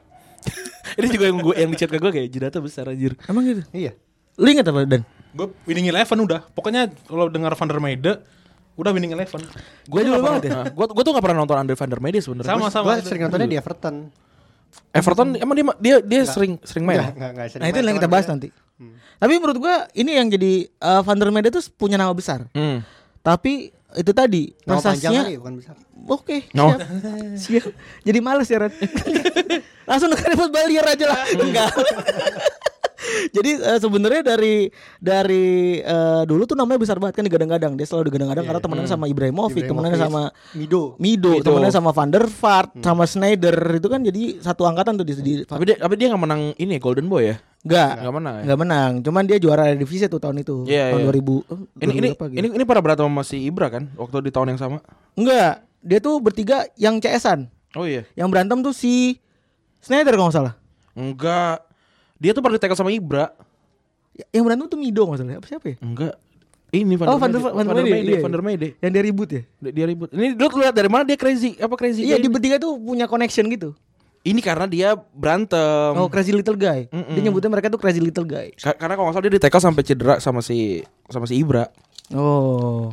[SPEAKER 4] Ini juga yang gua yang di chat ke gua kayak jidatnya besar anjir.
[SPEAKER 5] Emang gitu.
[SPEAKER 6] Iya.
[SPEAKER 5] Lu ingat apa Dan? Nah,
[SPEAKER 3] Gue winning eleven udah. Pokoknya kalau dengar Van der Meijde, udah winning eleven.
[SPEAKER 4] Gue juga banget ya. Gua gua tuh gak pernah nonton Andre Van der Meijde sebenarnya.
[SPEAKER 3] Sama sama.
[SPEAKER 6] Gue sering nontonnya
[SPEAKER 5] Hmm.
[SPEAKER 6] di Everton.
[SPEAKER 4] Everton emang dia dia dia sering sering
[SPEAKER 6] Enggak,
[SPEAKER 4] main.
[SPEAKER 6] enggak, enggak sering
[SPEAKER 5] Nah itu
[SPEAKER 6] main,
[SPEAKER 5] yang kita
[SPEAKER 6] cuman
[SPEAKER 5] bahas
[SPEAKER 6] dia-
[SPEAKER 5] nanti.
[SPEAKER 6] Hmm.
[SPEAKER 5] Tapi menurut gue ini yang jadi eh, Van der Meyde tuh punya nama besar.
[SPEAKER 4] Hmm.
[SPEAKER 5] Tapi itu tadi
[SPEAKER 6] Nama panjang
[SPEAKER 5] prestasinya
[SPEAKER 6] kali, bukan besar.
[SPEAKER 5] Oke,
[SPEAKER 4] No.
[SPEAKER 5] siap. siap. Jadi males ya, Ren. [laughs] Langsung ke buat Balier aja lah. Enggak. [laughs] Jadi eh, sebenarnya dari dari eh, dulu tuh namanya besar banget kan digadang-gadang. Dia selalu digadang-gadang karena temenannya sama Ibrahimovic, temenannya sama
[SPEAKER 6] Mido.
[SPEAKER 5] Mido, temenannya sama Van der Vaart, sama Schneider itu kan jadi satu angkatan tuh di, di
[SPEAKER 4] Tapi dia tapi dia gak menang ini ya, Golden Boy ya.
[SPEAKER 5] enggak
[SPEAKER 4] Nggak menang ya?
[SPEAKER 5] Enggak menang. Cuman dia juara divisi tuh tahun itu.
[SPEAKER 4] Iya,
[SPEAKER 5] tahun
[SPEAKER 4] iya.
[SPEAKER 5] 2000. eh,
[SPEAKER 4] Ini ini
[SPEAKER 5] 2000 berapa gitu.
[SPEAKER 4] ini ini para berantem sama si Ibra kan waktu di tahun yang sama.
[SPEAKER 5] enggak. Dia tuh bertiga yang CS-an.
[SPEAKER 4] Oh iya.
[SPEAKER 5] Yang berantem tuh si Schneider kalau nggak salah.
[SPEAKER 4] Enggak. Dia tuh pernah ditekel sama Ibra.
[SPEAKER 5] Ya, Yang berantem tuh Mido nggak salah. Apa siapa ya?
[SPEAKER 4] Enggak. Ini Van
[SPEAKER 5] oh, Van der Van der Meyde, iya,
[SPEAKER 4] Van der Meyde.
[SPEAKER 5] Yang dia ribut ya?
[SPEAKER 4] Dia dia ribut. Ini lu lihat dari mana dia crazy? Apa crazy?
[SPEAKER 5] Iya,
[SPEAKER 4] Dia-
[SPEAKER 5] di bertiga tuh punya connection gitu.
[SPEAKER 4] Ini karena dia berantem.
[SPEAKER 5] oh, crazy little guy. Dia nyebutnya mereka tuh crazy little guy.
[SPEAKER 4] Ka- karena kalau nggak salah dia ditekel sampai cedera sama si sama si Ibra.
[SPEAKER 5] Oh.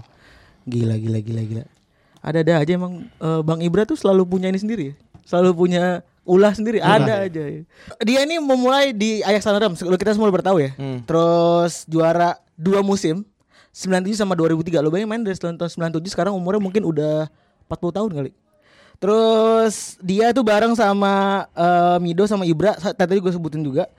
[SPEAKER 5] Gila gila gila gila. Ada-ada aja emang eh, Bang Ibra tuh selalu punya ini sendiri ya. Selalu punya ulah sendiri. Ada aja ya. Dia ini memulai di Ajax Amsterdam, sebelum kita semua bertahu ya. Terus juara dua musim 97 sama 2003. Lo bayangin main dari tahun 97 sekarang umurnya mungkin udah 40 tahun kali. Terus dia tuh bareng sama eh, Mido sama Ibra sa- tadi gue sebutin juga.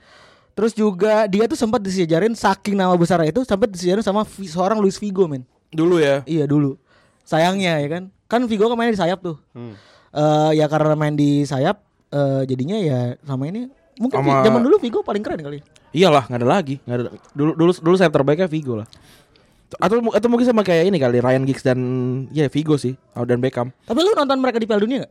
[SPEAKER 5] Terus juga dia tuh sempat disejarin saking nama besar itu sampai disejarin sama Vi- seorang Luis Figo men.
[SPEAKER 4] Dulu ya.
[SPEAKER 5] Iya dulu. Sayangnya ya kan. Kan Vigo kan mainnya di sayap tuh. Eh, ya karena main di sayap eh, jadinya ya sama ini mungkin Vi-
[SPEAKER 4] Sama-
[SPEAKER 5] zaman dulu Vigo paling keren kali.
[SPEAKER 4] Iyalah, nggak ada lagi. Nggak ada. Dulu dulu dulu saya terbaiknya Vigo lah. Atau mu- atau mungkin sama kayak ini kali Ryan Giggs dan ya Vigo sih, Oh, dan Beckham.
[SPEAKER 5] Tapi lu nonton mereka di Piala Dunia gak?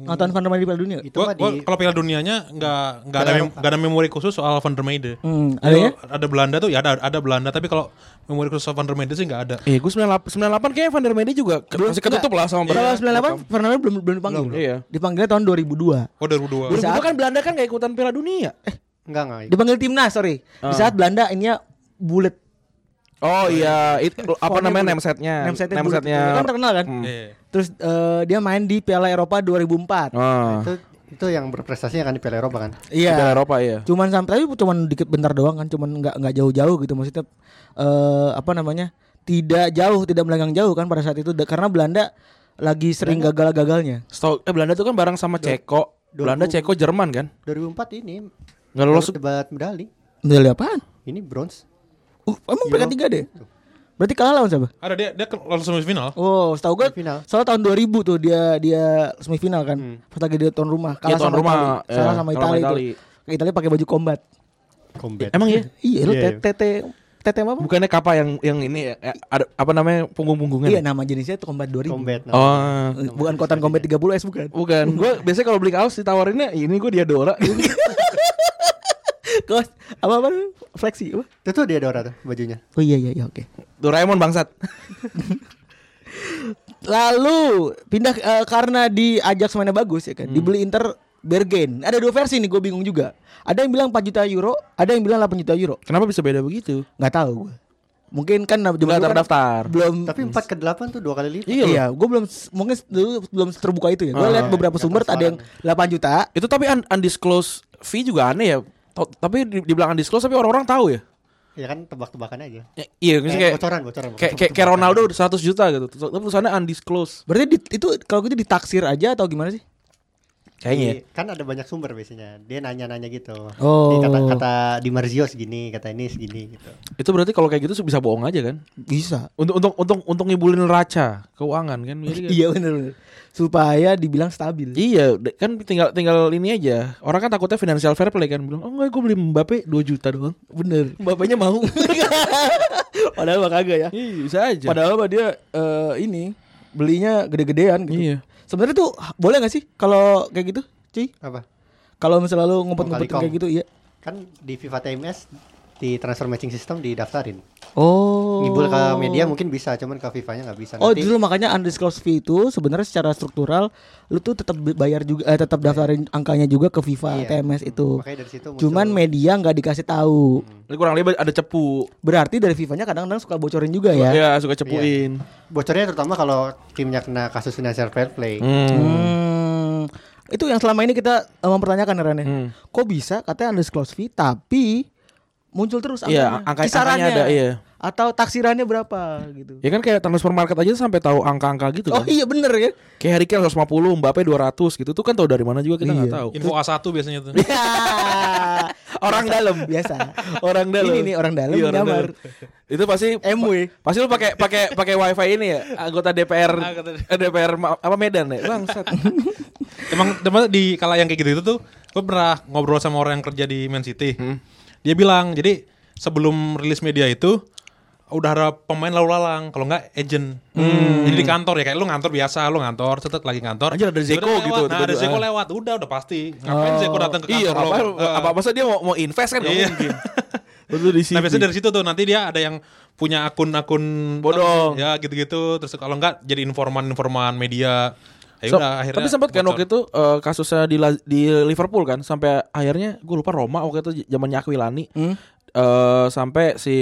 [SPEAKER 5] Nonton Van der Meyde di Piala Dunia gak?
[SPEAKER 6] Itu
[SPEAKER 3] Gue
[SPEAKER 6] mah di
[SPEAKER 3] kalau Piala Dunianya nggak nggak ada mem- nggak ada memori khusus soal Van der Meijde.
[SPEAKER 5] Hmm, ada ya?
[SPEAKER 3] Ada Belanda tuh ya ada ada Belanda tapi kalau memori khusus soal Van der Meijde sih nggak ada.
[SPEAKER 4] Eh, gue 98 98 kayaknya Van der Meyde juga ke- masih ketutup lah sama
[SPEAKER 5] Kalau
[SPEAKER 4] Belanda.
[SPEAKER 5] 98 Van der Meyde belum belum dipanggil.
[SPEAKER 4] Belum, iya.
[SPEAKER 5] Dipanggilnya tahun 2002.
[SPEAKER 3] Oh 2002.
[SPEAKER 4] Dulu juga kan Belanda kan gak ikutan Piala Dunia. Eh.
[SPEAKER 6] enggak enggak.
[SPEAKER 5] Dipanggil timnas, sorry.
[SPEAKER 4] Ah.
[SPEAKER 5] Di saat Belanda ininya bulat.
[SPEAKER 4] Oh iya, It- apa namanya namesetnya?
[SPEAKER 5] Namesetnya bulat.
[SPEAKER 4] Namesetnya.
[SPEAKER 5] Kan terkenal kan?
[SPEAKER 4] Hmm.
[SPEAKER 3] Iya.
[SPEAKER 5] Terus eh, dia main di Piala Eropa 2004.
[SPEAKER 4] Ah,
[SPEAKER 6] Itu itu yang berprestasi kan di Piala Eropa kan.
[SPEAKER 5] Iya.
[SPEAKER 4] Piala Eropa ya.
[SPEAKER 5] Cuman sampai tapi cuman dikit bentar doang kan, cuman nggak nggak jauh-jauh gitu maksudnya eh apa namanya? Tidak jauh, tidak melenggang jauh kan pada saat itu Da- karena Belanda lagi sering gagal-gagalnya.
[SPEAKER 4] Setau, eh Belanda tuh kan bareng sama Ceko. Belanda, Ceko, Jerman kan?
[SPEAKER 6] 2004 ini
[SPEAKER 4] Gak lolos.
[SPEAKER 6] debat medali.
[SPEAKER 5] Medali apaan?
[SPEAKER 6] Ini bronze.
[SPEAKER 5] Uh,
[SPEAKER 4] Iya.
[SPEAKER 5] emang mereka tiga deh. Berarti kalah lawan siapa?
[SPEAKER 3] Ada dia dia ke- lolos semifinal.
[SPEAKER 5] Oh, setahu gue
[SPEAKER 6] Semifinal.
[SPEAKER 5] soalnya tahun 2000 tuh dia dia semifinal kan. Pas lagi dia tuan rumah,
[SPEAKER 4] Hmm.
[SPEAKER 5] kalah
[SPEAKER 4] Iya, tuan
[SPEAKER 5] sama
[SPEAKER 4] rumah,
[SPEAKER 5] Itali. Salah
[SPEAKER 4] iya,
[SPEAKER 5] sama
[SPEAKER 4] kalah sama
[SPEAKER 5] Itali.
[SPEAKER 4] Itali.
[SPEAKER 5] Itu. Itali pakai baju combat.
[SPEAKER 6] Combat.
[SPEAKER 4] Emang iya?
[SPEAKER 5] Iya, lu
[SPEAKER 6] Iya, iya.
[SPEAKER 5] TT TT apa?
[SPEAKER 4] Bukannya kapal yang yang ini ya, eh, ada apa namanya punggung-punggungnya? ya?
[SPEAKER 5] Iya, nama jenisnya itu combat 2000.
[SPEAKER 6] Combat. nah.
[SPEAKER 4] Oh,
[SPEAKER 5] Bukan kotan combat 30S bukan. [laughs]
[SPEAKER 4] bukan. Gue biasanya kalau beli kaos ditawarinnya ini gue Diadora.
[SPEAKER 5] Kos apa apa fleksi apa?
[SPEAKER 6] Itu tuh dia Dora tuh bajunya.
[SPEAKER 5] Oh iya iya iya oke.
[SPEAKER 4] [laughs] Doraemon bangsat. Hmm.
[SPEAKER 5] Lalu pindah eh, karena di Ajax mainnya bagus ya kan. Dibeli Inter Bergen. Ada dua versi nih gue bingung juga. Ada yang bilang 4 juta euro, ada yang bilang 8 juta euro.
[SPEAKER 4] Kenapa bisa beda begitu?
[SPEAKER 5] Nggak tahu gue. Mungkin kan jumlah
[SPEAKER 4] Nggak
[SPEAKER 5] kan
[SPEAKER 4] terdaftar.
[SPEAKER 5] Belum
[SPEAKER 6] Tapi 4 ke 8 tuh dua kali lipat.
[SPEAKER 5] Iya, gue belum mungkin dulu belum terbuka itu ya. Gue lihat beberapa
[SPEAKER 6] nggak
[SPEAKER 5] sumber ada yang 8 juta.
[SPEAKER 4] Itu tapi un- undisclosed fee juga aneh ya. Tau- tapi di- dibilang undisclosed tapi orang-orang tahu ya.
[SPEAKER 6] Ya kan tebak-tebakan aja.
[SPEAKER 4] Ya, Iya,
[SPEAKER 6] Eh,
[SPEAKER 4] maksudnya kayak
[SPEAKER 6] bocoran, bocoran, bocoran.
[SPEAKER 4] kayak kayak, kayak Ronaldo udah 100 juta gitu. Terus- Tapi tulisannya undisclosed.
[SPEAKER 5] Berarti di- itu kalau gitu ditaksir aja atau gimana sih?
[SPEAKER 4] Kayaknya. ya.
[SPEAKER 6] Di- kan ada banyak sumber biasanya. Dia nanya-nanya gitu.
[SPEAKER 5] Oh.
[SPEAKER 6] Ini kata kata Di Marzio segini, kata ini segini gitu.
[SPEAKER 4] Itu berarti kalau kayak gitu bisa bohong aja kan?
[SPEAKER 5] Bisa.
[SPEAKER 4] Untuk untuk untuk untuk ngibulin neraca keuangan kan. Jadi kayak-
[SPEAKER 5] Iya benar benar. Supaya dibilang stabil.
[SPEAKER 4] Iya, de- kan tinggal tinggal ini aja. Orang kan takutnya financial fair play kan bilang, "Oh enggak, gue beli Mbappe 2 juta doang."
[SPEAKER 5] Bener.
[SPEAKER 4] Mbapenya
[SPEAKER 5] [laughs]
[SPEAKER 4] mau.
[SPEAKER 5] Padahal mah kagak ya.
[SPEAKER 4] Iya, bisa aja.
[SPEAKER 5] Padahal mah dia eh, ini belinya gede-gedean gitu.
[SPEAKER 4] Iya.
[SPEAKER 5] Sebenarnya tuh boleh gak sih kalau kayak gitu, cuy?
[SPEAKER 6] Apa?
[SPEAKER 5] Kalau misalnya lu ngumpet-ngumpet
[SPEAKER 6] Kong kali
[SPEAKER 5] kayak
[SPEAKER 6] kong.
[SPEAKER 5] gitu, iya.
[SPEAKER 6] Kan di FIFA TMS di transfer matching system didaftarin.
[SPEAKER 5] Oh.
[SPEAKER 6] Ngibul ke media mungkin bisa, cuman ke FIFA-nya nggak bisa.
[SPEAKER 5] Oh,
[SPEAKER 6] Nah, Nanti
[SPEAKER 5] dulu makanya undisclosed fee itu sebenarnya secara struktural lu tuh tetap bayar juga eh, tetap daftarin angkanya juga ke FIFA
[SPEAKER 6] Iya.
[SPEAKER 5] TMS itu.
[SPEAKER 6] Makanya dari situ muncul- Hmm.
[SPEAKER 5] Cuman media nggak dikasih tahu.
[SPEAKER 4] kurang lebih ada cepu.
[SPEAKER 5] Berarti dari FIFA-nya kadang-kadang suka bocorin juga ya.
[SPEAKER 4] Ya, suka cepuin.
[SPEAKER 6] bocornya terutama kalau timnya kena kasus financial fair play.
[SPEAKER 4] Hmm.
[SPEAKER 5] Hmm. Itu yang selama ini kita eh, mempertanyakan Ran, ya.
[SPEAKER 4] Hmm.
[SPEAKER 5] Kok bisa katanya undisclosed fee tapi muncul terus
[SPEAKER 4] Iya, angka- angkanya ada, iya.
[SPEAKER 5] Atau taksirannya berapa gitu.
[SPEAKER 4] Ya kan kayak transfer market aja sampai tahu angka-angka gitu
[SPEAKER 5] Oh
[SPEAKER 4] kan.
[SPEAKER 5] iya bener ya.
[SPEAKER 4] Kayak Harry Kane 150, Mbappe 200 gitu. Itu kan tahu dari mana juga kita nggak
[SPEAKER 5] Iya.
[SPEAKER 4] tahu.
[SPEAKER 3] Info A1 biasanya tuh.
[SPEAKER 4] [laughs] Orang dalam.
[SPEAKER 5] biasa.
[SPEAKER 4] [laughs] Orang dalam.
[SPEAKER 5] Ini nih, orang dalam
[SPEAKER 4] Iya, orang
[SPEAKER 5] menyamar.
[SPEAKER 4] dalam. Itu pasti
[SPEAKER 5] MW.
[SPEAKER 4] Pasti lu pakai pakai pakai wifi ini ya anggota DPR eh, DPR ma- apa Medan ya bangsat.
[SPEAKER 3] Emang emang di kala yang kayak gitu itu tuh, gue pernah ngobrol sama orang yang kerja di Man City.
[SPEAKER 4] Hmm.
[SPEAKER 3] Dia bilang, jadi sebelum rilis media itu udah ada pemain lalu lalang, kalau nggak agent. Jadi di kantor ya kayak lu ngantor biasa, lu ngantor, tetet lagi ngantor.
[SPEAKER 4] Hmm. Anjir, ada Zeko
[SPEAKER 3] Tiba-tiba
[SPEAKER 4] gitu,
[SPEAKER 3] lewat. Nah, ada
[SPEAKER 4] tiba-tiba.
[SPEAKER 3] Zeko lewat, udah udah pasti. Ngapain Zeko datang ke
[SPEAKER 4] [laughs] iya
[SPEAKER 3] kantor?
[SPEAKER 4] apa
[SPEAKER 3] lo? Eh,
[SPEAKER 4] apa masa dia mau mau invest kan nggak
[SPEAKER 3] Iya.
[SPEAKER 4] mungkin.
[SPEAKER 3] [laughs]
[SPEAKER 4] Betul di sini.
[SPEAKER 3] Nah biasanya dari situ tuh nanti dia ada yang punya akun-akun
[SPEAKER 4] Bodong.
[SPEAKER 3] ya gitu-gitu. Terus kalau nggak jadi informan-informan media. Ya
[SPEAKER 4] So-
[SPEAKER 3] udah akhirnya.
[SPEAKER 4] tapi sempat kan
[SPEAKER 3] bocor.
[SPEAKER 4] waktu itu eh, kasusnya di La- di Liverpool kan sampai akhirnya gue lupa Roma waktu itu j- zamannya Aquilani eh, sampai si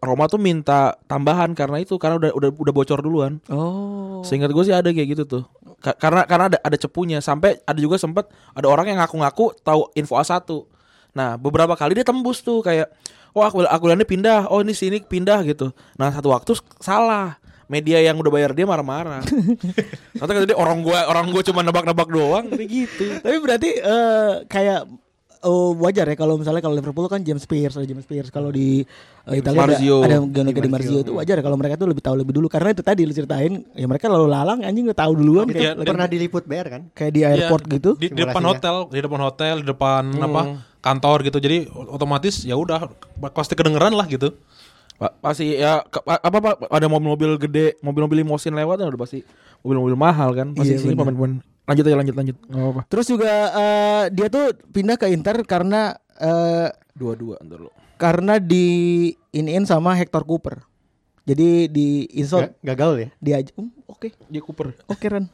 [SPEAKER 4] Roma tuh minta tambahan karena itu karena udah udah udah bocor duluan.
[SPEAKER 5] Oh.
[SPEAKER 4] Seingat gue sih ada kayak gitu tuh. Ka- karena karena ada ada cepunya sampai ada juga sempat ada orang yang ngaku-ngaku tahu info A1. Nah, beberapa kali dia tembus tuh kayak oh aku akulannya pindah, oh ini sini pindah gitu. Nah, satu waktu s- salah. Media yang udah bayar dia [laughs] marah-marah. Nanti kata dia orang gua orang gua cuma nebak-nebak doang kayak gitu.
[SPEAKER 5] Tapi berarti eh, kayak oh, wajar ya kalau misalnya kalau Liverpool kan James Pierce ada James Pierce kalau di eh, Italia ada,
[SPEAKER 4] Marzio.
[SPEAKER 5] ada Gianluca Di Marzio itu wajar ya kalau mereka tuh lebih tahu lebih dulu karena itu tadi lu ceritain ya mereka lalu lalang anjing udah tahu duluan
[SPEAKER 6] Itu
[SPEAKER 4] Iya,
[SPEAKER 5] kayak,
[SPEAKER 6] Gitu. pernah diliput BR kan?
[SPEAKER 5] kayak di airport
[SPEAKER 3] Iya,
[SPEAKER 5] gitu.
[SPEAKER 3] di, di depan
[SPEAKER 6] simulasinya.
[SPEAKER 3] hotel di depan hotel di depan
[SPEAKER 4] Hmm.
[SPEAKER 3] apa kantor gitu jadi otomatis ya udah pasti kedengeran lah gitu
[SPEAKER 4] Pa- Pasti ya ke- pa- apa Pak ada mobil-mobil gede, mobil-mobil limosin lewat kan udah pasti mobil-mobil mahal kan. Pasti
[SPEAKER 5] Iya,
[SPEAKER 4] sini
[SPEAKER 5] bener.
[SPEAKER 4] pemain-pemain. Lanjut aja lanjut lanjut. Enggak apa-apa.
[SPEAKER 5] Terus juga eh, dia tuh pindah ke Inter karena eh,
[SPEAKER 4] Dua-dua ntar lu.
[SPEAKER 5] karena di iniin sama Hector Cooper. Jadi di insult
[SPEAKER 6] Ga- Gak gaul ya?
[SPEAKER 5] dia aja. "Hmm, oke.
[SPEAKER 4] Dia Cooper.
[SPEAKER 5] Oke Ren.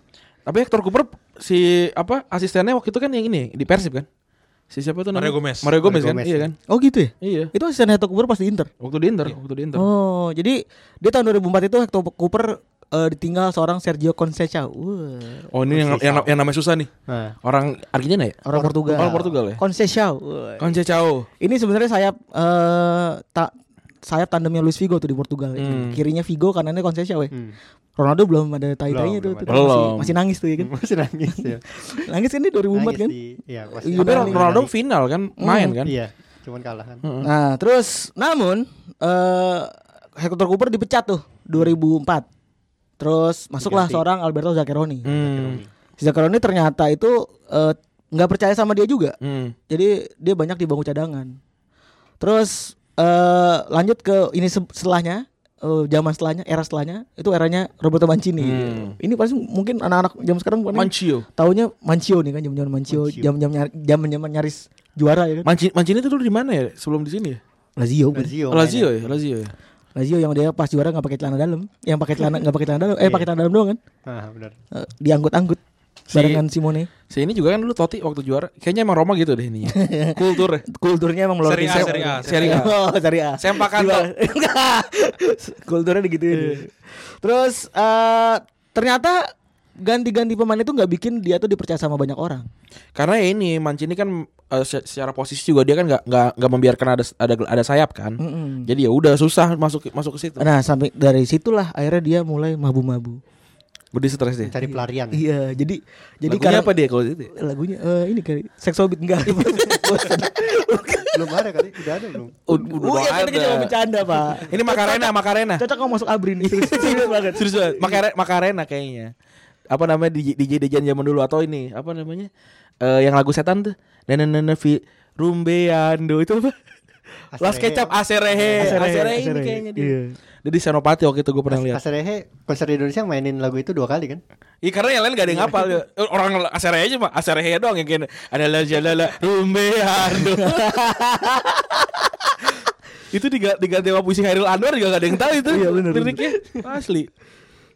[SPEAKER 4] Tapi Hector Cooper si apa asistennya waktu itu kan yang ini di Persib kan? Si siapa tuh namanya?
[SPEAKER 3] Mario Gomez.
[SPEAKER 4] Mario Gomez,
[SPEAKER 6] Mario
[SPEAKER 4] kan?
[SPEAKER 6] Gomez.
[SPEAKER 4] Iya kan?
[SPEAKER 5] Oh gitu ya.
[SPEAKER 4] Iya.
[SPEAKER 5] Itu asisten Hector Cooper pas di Inter.
[SPEAKER 4] Waktu di
[SPEAKER 3] Iya.
[SPEAKER 4] Inter, waktu di Inter.
[SPEAKER 5] Oh, jadi dia tahun 2004 itu Hector Cooper eh, ditinggal seorang Sergio Conceição. Wah.
[SPEAKER 4] Oh, ini yang yang, yang namanya susah nih.
[SPEAKER 6] Nah.
[SPEAKER 4] Orang Argentina ya?
[SPEAKER 5] Orang Portugal.
[SPEAKER 4] Orang Portugal ya?
[SPEAKER 5] Conceição. Wah.
[SPEAKER 4] Kan Conceição.
[SPEAKER 5] Ini sebenarnya sayap eh tak sayap tandemnya Luis Figo tuh di Portugal. ya.
[SPEAKER 4] Hmm.
[SPEAKER 5] Kirinya Figo, kanannya Conceição ya. Ronaldo belum ada tai-tainya tuh,
[SPEAKER 6] Belum,
[SPEAKER 5] tuh masih,
[SPEAKER 6] belum
[SPEAKER 4] ada. Hmm. Belum.
[SPEAKER 5] masih nangis
[SPEAKER 4] [laughs]
[SPEAKER 5] tuh ya kan.
[SPEAKER 6] Nah, [laughs] Masih nangis ya.
[SPEAKER 5] Nangis kan ini 2004
[SPEAKER 6] Nangis
[SPEAKER 5] kan.
[SPEAKER 6] di- Iya, pasti.
[SPEAKER 5] Iya,
[SPEAKER 4] Tapi
[SPEAKER 5] Ronaldo-
[SPEAKER 4] Ronaldo final kan main kan? Hmm.
[SPEAKER 6] Iya, cuman kalah kan.
[SPEAKER 5] Nah, terus namun eh Hector Cooper dipecat tuh 2004. Terus masuklah seorang Alberto Zaccheroni.
[SPEAKER 4] Hmm.
[SPEAKER 5] Si Zaccheroni ternyata itu eh, nggak percaya sama dia juga.
[SPEAKER 4] Hmm.
[SPEAKER 5] Jadi dia banyak di bangku cadangan. Terus eh lanjut ke ini se- setelahnya eh, zaman setelahnya era setelahnya itu eranya Roberto Mancini. Ini pasti mungkin anak-anak zaman sekarang bukan
[SPEAKER 4] Mancio.
[SPEAKER 5] Taunya Mancio nih kan zaman-zaman Mancio, zaman-zaman nyari- zaman-zaman nyaris juara ya kan.
[SPEAKER 4] Mancini, Mancini itu dulu di mana ya? Sebelum di sini ya?
[SPEAKER 5] Lazio. bukan?
[SPEAKER 6] Lazio.
[SPEAKER 4] Lazio ya, Lazio ya.
[SPEAKER 5] Lazio yang dia pas Iya.
[SPEAKER 4] ya?
[SPEAKER 6] Nah,
[SPEAKER 5] juara nggak pakai celana dalam, yang pakai celana nggak pakai celana dalam, eh pakai celana dalam doang kan?
[SPEAKER 6] mainnya. Ah, benar.
[SPEAKER 5] Eh, dianggut-anggut. barengan Simone.
[SPEAKER 4] Si ini juga kan dulu Totti waktu juara kayaknya emang Roma gitu deh ini. Kultur. ya.
[SPEAKER 5] Kulturnya emang
[SPEAKER 3] Seri
[SPEAKER 5] melalui
[SPEAKER 3] A, seri A,
[SPEAKER 4] seri A.
[SPEAKER 5] Oh, seri A.
[SPEAKER 4] Sempakan, Iya.
[SPEAKER 5] Di bawah- [laughs] Enggak. Kulturnya digituin. Terus eh, ternyata ganti-ganti pemain itu nggak bikin dia tuh dipercaya sama banyak orang.
[SPEAKER 4] Karena ya ini Mancini kan eh, se- secara posisi juga dia kan nggak nggak nggak membiarkan ada ada ada sayap kan.
[SPEAKER 5] Mm-mm.
[SPEAKER 4] Jadi ya udah susah masuk masuk ke situ.
[SPEAKER 5] Nah, sampai dari situlah akhirnya dia mulai mabu-mabu.
[SPEAKER 4] Hmm. Gede stres dia.
[SPEAKER 6] Cari pelarian.
[SPEAKER 5] Iya, jadi jadi
[SPEAKER 4] Lagunya
[SPEAKER 5] karena
[SPEAKER 4] apa dia kalau itu?
[SPEAKER 5] lagunya eh, ini kali seksual
[SPEAKER 4] [laughs]
[SPEAKER 5] beat enggak.
[SPEAKER 6] belum ada kali, udah ada belum.
[SPEAKER 5] Oh, iya, kita cuma bercanda,
[SPEAKER 4] [laughs]
[SPEAKER 5] Pak.
[SPEAKER 4] Ini Makarena, Makarena.
[SPEAKER 5] Cocok kamu masuk Abrin.
[SPEAKER 4] Iya.
[SPEAKER 5] Serius [laughs] serius banget.
[SPEAKER 4] Serius banget. Makare- Makarena kayaknya. Apa namanya DJ DJ DJ zaman dulu atau ini apa namanya? Eh yang lagu setan tuh. Nenenene fi rumbeando itu apa?
[SPEAKER 6] Aserehe.
[SPEAKER 4] Las kecap aserehe.
[SPEAKER 5] Aserehe,
[SPEAKER 4] Aserehe, ini
[SPEAKER 5] aserehe.
[SPEAKER 4] kayaknya dia.
[SPEAKER 5] Iya.
[SPEAKER 4] Dia di Senopati waktu itu gue pernah lihat.
[SPEAKER 6] Aserehe konser di Indonesia mainin lagu itu dua kali kan?
[SPEAKER 4] Iya karena yang lain gak ada yang ngapal
[SPEAKER 5] gitu.
[SPEAKER 4] Eh, Orang aserehe aja mah Aserehe doang yang kayak Adalah jalala
[SPEAKER 5] [laughs]
[SPEAKER 4] rumbeando Itu diga- diganti sama puisi Hairil Anwar juga gak ada yang tahu itu
[SPEAKER 5] Iya, bener, bener.
[SPEAKER 4] Liriknya Asli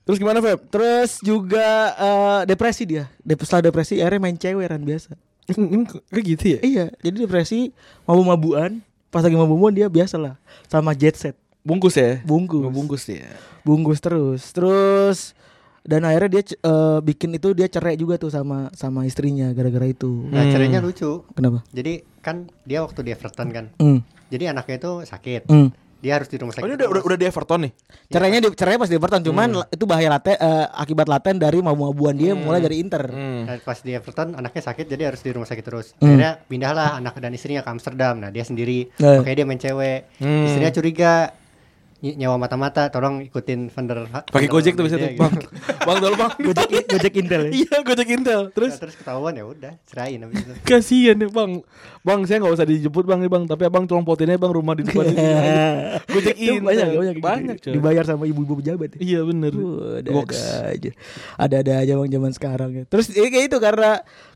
[SPEAKER 4] Terus gimana Feb?
[SPEAKER 5] Terus juga eh, depresi dia. Dep setelah depresi akhirnya main ceweran biasa.
[SPEAKER 4] Kayak gitu ya?
[SPEAKER 5] Iya, jadi depresi mabu-mabuan. Pas lagi mabu-mabuan dia biasalah sama jet set,
[SPEAKER 4] Bungkus ya?
[SPEAKER 5] bungkus,
[SPEAKER 4] Bungkus ya
[SPEAKER 5] bungkus terus, terus dan akhirnya dia c- eh, bikin itu dia cerai juga tuh sama sama istrinya gara-gara itu.
[SPEAKER 6] Nah,
[SPEAKER 4] Hmm.
[SPEAKER 6] cerainya lucu.
[SPEAKER 5] Kenapa?
[SPEAKER 6] Jadi kan dia waktu di Everton kan.
[SPEAKER 5] Hmm.
[SPEAKER 6] Jadi anaknya itu sakit.
[SPEAKER 5] Hmm.
[SPEAKER 6] Dia harus di rumah
[SPEAKER 4] Oh
[SPEAKER 6] sakit.
[SPEAKER 4] ini udah, udah, udah di Everton nih?
[SPEAKER 5] Cerainya di, cerainya pas di Everton, cuman la- itu bahaya laten eh, akibat laten dari mabu-mabuan dia mulai dari Inter.
[SPEAKER 4] Hmm.
[SPEAKER 6] Nah, pas di Everton anaknya sakit jadi harus di rumah sakit terus. Akhirnya pindahlah anak dan istrinya ke Amsterdam. Nah, dia sendiri.
[SPEAKER 5] Nah.
[SPEAKER 6] Makanya dia main cewek.
[SPEAKER 4] Hmm.
[SPEAKER 6] Istrinya curiga ny- nyawa mata-mata tolong ikutin Vander
[SPEAKER 4] Pakai Gojek tuh bisa tuh
[SPEAKER 6] gitu.
[SPEAKER 4] Bang, bang tolong bang
[SPEAKER 5] Iya, gitu. Gojek, Gojek Intel. ya?
[SPEAKER 4] Iya Gojek Intel Terus
[SPEAKER 6] [laughs] Terus, terus ketahuan ya udah cerain
[SPEAKER 4] [laughs]
[SPEAKER 6] habis itu.
[SPEAKER 4] Kasian ya bang Bang saya gak usah dijemput bang nih bang Tapi abang tolong potinnya bang rumah di
[SPEAKER 5] [laughs]
[SPEAKER 4] depan ini Gojek
[SPEAKER 5] Itu
[SPEAKER 4] Intel.
[SPEAKER 5] banyak banyak
[SPEAKER 4] Banyak, coy.
[SPEAKER 5] dibayar sama ibu-ibu pejabat. ya.
[SPEAKER 4] Iya bener
[SPEAKER 5] Wuh,
[SPEAKER 4] Goks.
[SPEAKER 5] ada-ada aja ada-ada aja bang zaman sekarang ya terus ya kayak itu karena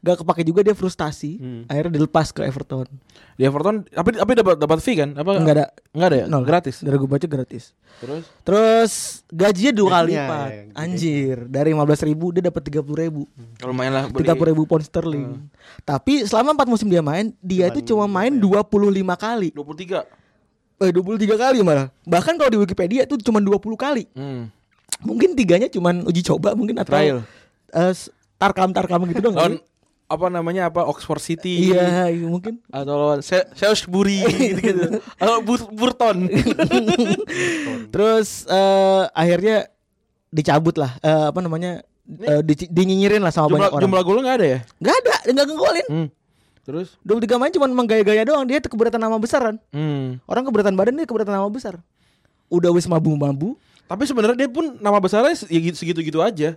[SPEAKER 5] gak kepake juga dia frustasi
[SPEAKER 4] Hmm.
[SPEAKER 5] akhirnya dilepas ke Everton
[SPEAKER 4] Di Everton Tapi, tapi dapat dapat fee kan? Apa,
[SPEAKER 5] Nggak ada.
[SPEAKER 4] Enggak ada ya?
[SPEAKER 5] Nol.
[SPEAKER 4] Gratis
[SPEAKER 5] dari gue baca gratis
[SPEAKER 4] Terus gitu.
[SPEAKER 5] terus gajinya dua kali
[SPEAKER 6] Gajinya,
[SPEAKER 5] lipat
[SPEAKER 6] ya, gede.
[SPEAKER 5] anjir dari 15.000 ribu dia dapat 30.000 ribu
[SPEAKER 4] Kalau main lah beli- Hmm.
[SPEAKER 5] tiga ribu pound sterling tapi selama 4 musim dia main dia itu cuma main
[SPEAKER 4] ya?
[SPEAKER 5] 25 kali
[SPEAKER 4] 23
[SPEAKER 5] eh 23 kali malah bahkan kalau di Wikipedia itu cuma 20 kali
[SPEAKER 4] hmm.
[SPEAKER 5] mungkin tiganya cuma uji coba mungkin atau
[SPEAKER 4] Trial. Oh,
[SPEAKER 5] eh, s- tarkam tarkam gitu dong
[SPEAKER 4] Lawan Apa namanya apa Oxford City
[SPEAKER 5] Iya, iya, mungkin.
[SPEAKER 4] Atau lawan Se-
[SPEAKER 5] [laughs]
[SPEAKER 4] Salisbury gitu-gitu Atau Bur- Burton
[SPEAKER 5] Terus eh, akhirnya dicabut lah eh, apa namanya eh, di- dinyinyirin lah sama
[SPEAKER 4] Jumlah,
[SPEAKER 5] banyak orang.
[SPEAKER 4] jumlah golnya gak ada ya?
[SPEAKER 5] Gak ada, gak ngegolin.
[SPEAKER 4] Hmm. Terus?
[SPEAKER 5] 23 main cuma emang gaya-gaya doang, dia tuh keberatan nama besar kan.
[SPEAKER 4] Hmm.
[SPEAKER 5] Orang keberatan badan dia keberatan nama besar. Udah wis mabu-mabu.
[SPEAKER 4] Tapi sebenarnya dia pun nama besarnya se- ya gitu- segitu-gitu aja.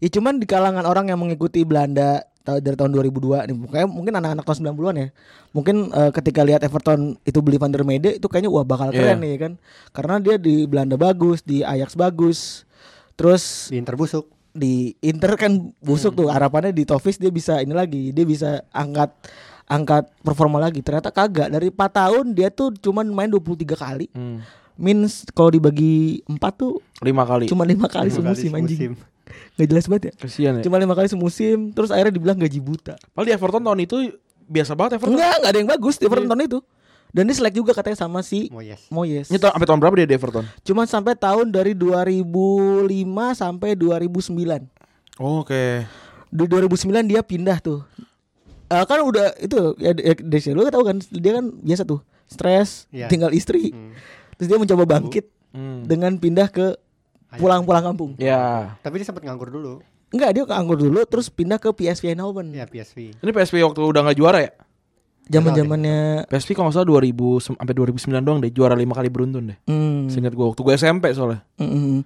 [SPEAKER 5] Ya cuman di kalangan orang yang mengikuti Belanda ta- dari tahun 2002 nih mukanya mungkin anak-anak tahun 90-an ya. Mungkin eh, ketika lihat Everton itu beli Van der Mede itu kayaknya wah bakal
[SPEAKER 4] Iya.
[SPEAKER 5] keren nih kan. Karena dia di Belanda bagus, di Ajax bagus. Terus
[SPEAKER 6] Di Inter busuk.
[SPEAKER 5] di Inter kan busuk tuh harapannya di Tovis dia bisa ini lagi dia bisa angkat angkat performa lagi ternyata kagak dari 4 tahun dia tuh cuman main 23 kali means kalau dibagi 4 tuh
[SPEAKER 4] Lima kali.
[SPEAKER 5] cuma lima kali semusim anjing nggak jelas banget ya
[SPEAKER 4] Kasihan ya.
[SPEAKER 5] cuma lima kali semusim terus akhirnya dibilang gaji buta
[SPEAKER 4] Padahal di Everton tahun itu biasa banget Everton.
[SPEAKER 5] enggak enggak ada yang bagus di Everton tahun itu dan dia selek juga katanya sama si
[SPEAKER 6] Moyes.
[SPEAKER 5] Iya. Moyes
[SPEAKER 4] Ini tahun, sampai tahun berapa dia di Everton?
[SPEAKER 5] cuma sampai tahun dari 2005 sampai 2009
[SPEAKER 4] Oh, Oke.
[SPEAKER 5] di 2009 dia pindah tuh Eh, kan udah itu ya, ya Desi, lu tahu kan dia kan biasa tuh stres
[SPEAKER 6] Iya.
[SPEAKER 5] tinggal istri terus dia mencoba bangkit dengan pindah ke pulang-pulang kampung
[SPEAKER 4] Ya.
[SPEAKER 6] Tapi dia sempat nganggur dulu.
[SPEAKER 5] enggak dia keanggur dulu terus pindah ke PSV Eindhoven
[SPEAKER 6] Ya PSV.
[SPEAKER 4] Ini PSV waktu udah nggak juara ya?
[SPEAKER 5] zaman zamannya
[SPEAKER 4] PSV kalau nggak salah 2000 sem- sampai 2009 doang deh juara lima kali beruntun deh.
[SPEAKER 5] hmm,
[SPEAKER 4] Seingat gua waktu gue SMP soalnya.
[SPEAKER 5] hmm, hmm.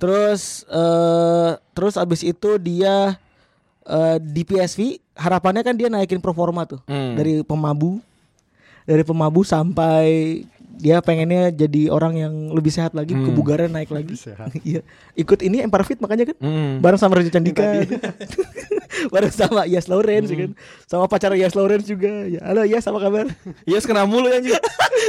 [SPEAKER 5] terus eh terus abis itu dia eh, di PSV harapannya kan dia naikin performa tuh
[SPEAKER 4] Hmm.
[SPEAKER 5] dari pemabu dari pemabu sampai dia pengennya jadi orang yang lebih sehat lagi
[SPEAKER 4] Hmm.
[SPEAKER 5] kebugaran naik lagi [laughs] Iya. ikut ini Empire Fit makanya kan
[SPEAKER 4] Hmm.
[SPEAKER 5] bareng sama Raja Candika [laughs] bareng sama Yas Lawrence
[SPEAKER 4] Hmm.
[SPEAKER 5] ya kan sama pacar Yas Lawrence juga ya halo Yas apa kabar [laughs]
[SPEAKER 4] Yes kena Iya, mulu ya, anjing.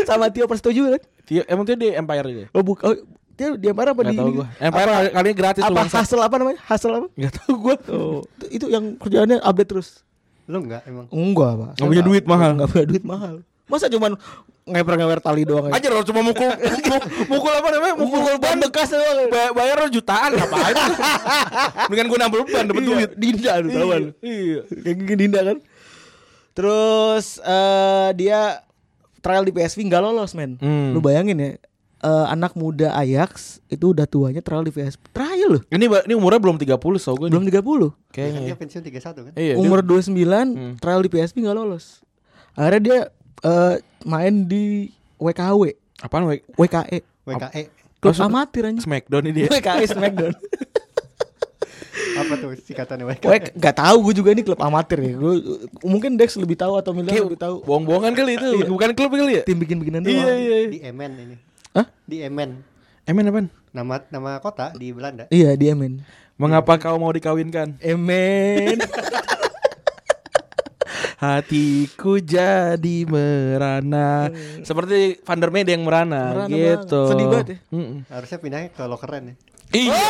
[SPEAKER 5] sama Tio Prasetyo juga kan
[SPEAKER 4] Tio, Iya, emang dia di Empire dia.
[SPEAKER 5] oh, buka, oh, dia di Empire apa
[SPEAKER 4] Gak
[SPEAKER 5] di
[SPEAKER 4] tau
[SPEAKER 5] ini?
[SPEAKER 4] gue Empire
[SPEAKER 5] apa,
[SPEAKER 4] kali ini gratis
[SPEAKER 5] apa
[SPEAKER 4] tuh bangsa
[SPEAKER 5] hasil apa namanya hasil apa
[SPEAKER 4] Gak tau gue
[SPEAKER 5] oh. itu, itu yang kerjaannya update terus
[SPEAKER 6] Lu enggak emang?
[SPEAKER 4] Oh,
[SPEAKER 5] enggak pak
[SPEAKER 4] Gak punya duit mahal
[SPEAKER 5] nggak punya duit mahal masa cuman ngeper ngeper tali doang aja
[SPEAKER 4] Aja lo cuma [laughs] mukul mu- Mukul apa namanya Mukul ban bekas doang Ba- Bayar lo jutaan [laughs] Ngapain Dengan gue nambah ban Dapet duit
[SPEAKER 5] Iya, Dinda lu tahuan. Iya. Kayak gini Dinda kan. Terus eh dia trial di PSV nggak lolos men. Lu bayangin ya. eh, anak muda Ajax itu udah tuanya trial di PSV. Trial loh.
[SPEAKER 4] Ini ba- ini umurnya belum 30 so gue
[SPEAKER 5] Belum 30.
[SPEAKER 6] Kan
[SPEAKER 4] Kayaknya ya.
[SPEAKER 6] dia pensiun 31 kan?
[SPEAKER 4] Iya dia-
[SPEAKER 5] Umur 29 trial di PSV nggak lolos. Akhirnya dia eh, main di WKW,
[SPEAKER 4] Apaan wek
[SPEAKER 5] WKE.
[SPEAKER 6] WKE
[SPEAKER 5] E. Klub amatir anjing.
[SPEAKER 4] Smackdown ini dia
[SPEAKER 5] WKE [laughs] Smackdown.
[SPEAKER 6] apa tuh singkatannya E? WKE?
[SPEAKER 4] E,
[SPEAKER 5] Gue E, nggak tahu gue juga ini klub amatir ya. Gue mungkin Dex lebih tahu atau Milan lebih tahu. Iya,
[SPEAKER 4] Bohong-bohongan kali itu Bukan klub kali ya
[SPEAKER 5] Tim bikin-bikinan doang.
[SPEAKER 4] iya,
[SPEAKER 6] Di Emen ini.
[SPEAKER 5] Hah?
[SPEAKER 6] Di Emen.
[SPEAKER 4] Emen apaan
[SPEAKER 6] Nama nama kota di Belanda.
[SPEAKER 5] Iya di Emen
[SPEAKER 4] Mengapa kau mau dikawinkan
[SPEAKER 5] [laughs] Emen
[SPEAKER 4] Hatiku jadi merana Seperti Van der Mede yang merana,
[SPEAKER 5] Hmm. Merana
[SPEAKER 4] Gitu
[SPEAKER 5] banget. Sedih banget ya. Oh.
[SPEAKER 4] Mm-mm.
[SPEAKER 6] Harusnya pindahnya ke Lokeren ya.
[SPEAKER 4] Iya. [laughs]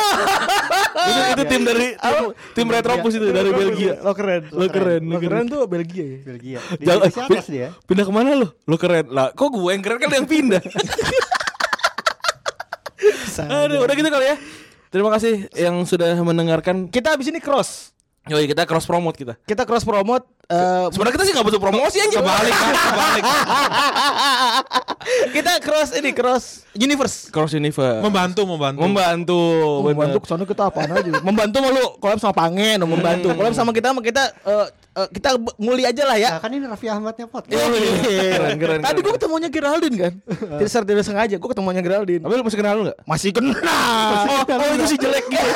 [SPEAKER 4] itu, itu tim
[SPEAKER 5] [laughs]
[SPEAKER 4] dari tim, tim Retropus itu dari Belgia.
[SPEAKER 5] Lo keren
[SPEAKER 4] Lo keren,
[SPEAKER 5] Lo
[SPEAKER 4] lo
[SPEAKER 5] keren
[SPEAKER 4] keren.
[SPEAKER 5] tuh Belgia ya
[SPEAKER 6] [laughs] Belgia. Di
[SPEAKER 4] Jangan-
[SPEAKER 6] divisi atas dia.
[SPEAKER 4] eh, Pindah kemana lo? Lo keren lah. Kok gue yang keren kan yang
[SPEAKER 5] [laughs]
[SPEAKER 4] pindah. Aduh, udah gitu kali ya. Terima kasih yang sudah mendengarkan.
[SPEAKER 5] Kita abis ini cross
[SPEAKER 4] Yoi, kita cross promote kita.
[SPEAKER 5] Kita cross promote eh,
[SPEAKER 4] Sebenarnya kita sih nggak butuh promosi aja. Balik, [laughs] balik.
[SPEAKER 5] [laughs] Kita cross ini cross universe
[SPEAKER 4] Cross universe.
[SPEAKER 3] Membantu, membantu.
[SPEAKER 4] Membantu.
[SPEAKER 5] Membantu kesana kita apaan aja [laughs] Membantu sama lu Collab sama Pangen [laughs] Membantu Collab sama kita sama kita eh, eh, Kita b- nguli aja lah ya
[SPEAKER 6] Nah, kan ini Raffi Ahmadnya pot.
[SPEAKER 4] Keren, keren,
[SPEAKER 5] Iya, Tadi
[SPEAKER 4] keren.
[SPEAKER 5] gue ketemunya Geraldine kan Tidak secara tidak sengaja Gue ketemunya Geraldine
[SPEAKER 4] Tapi lu masih kenal lu nggak?
[SPEAKER 5] Masih kenal Oh, oh, itu si jelek [laughs] gitu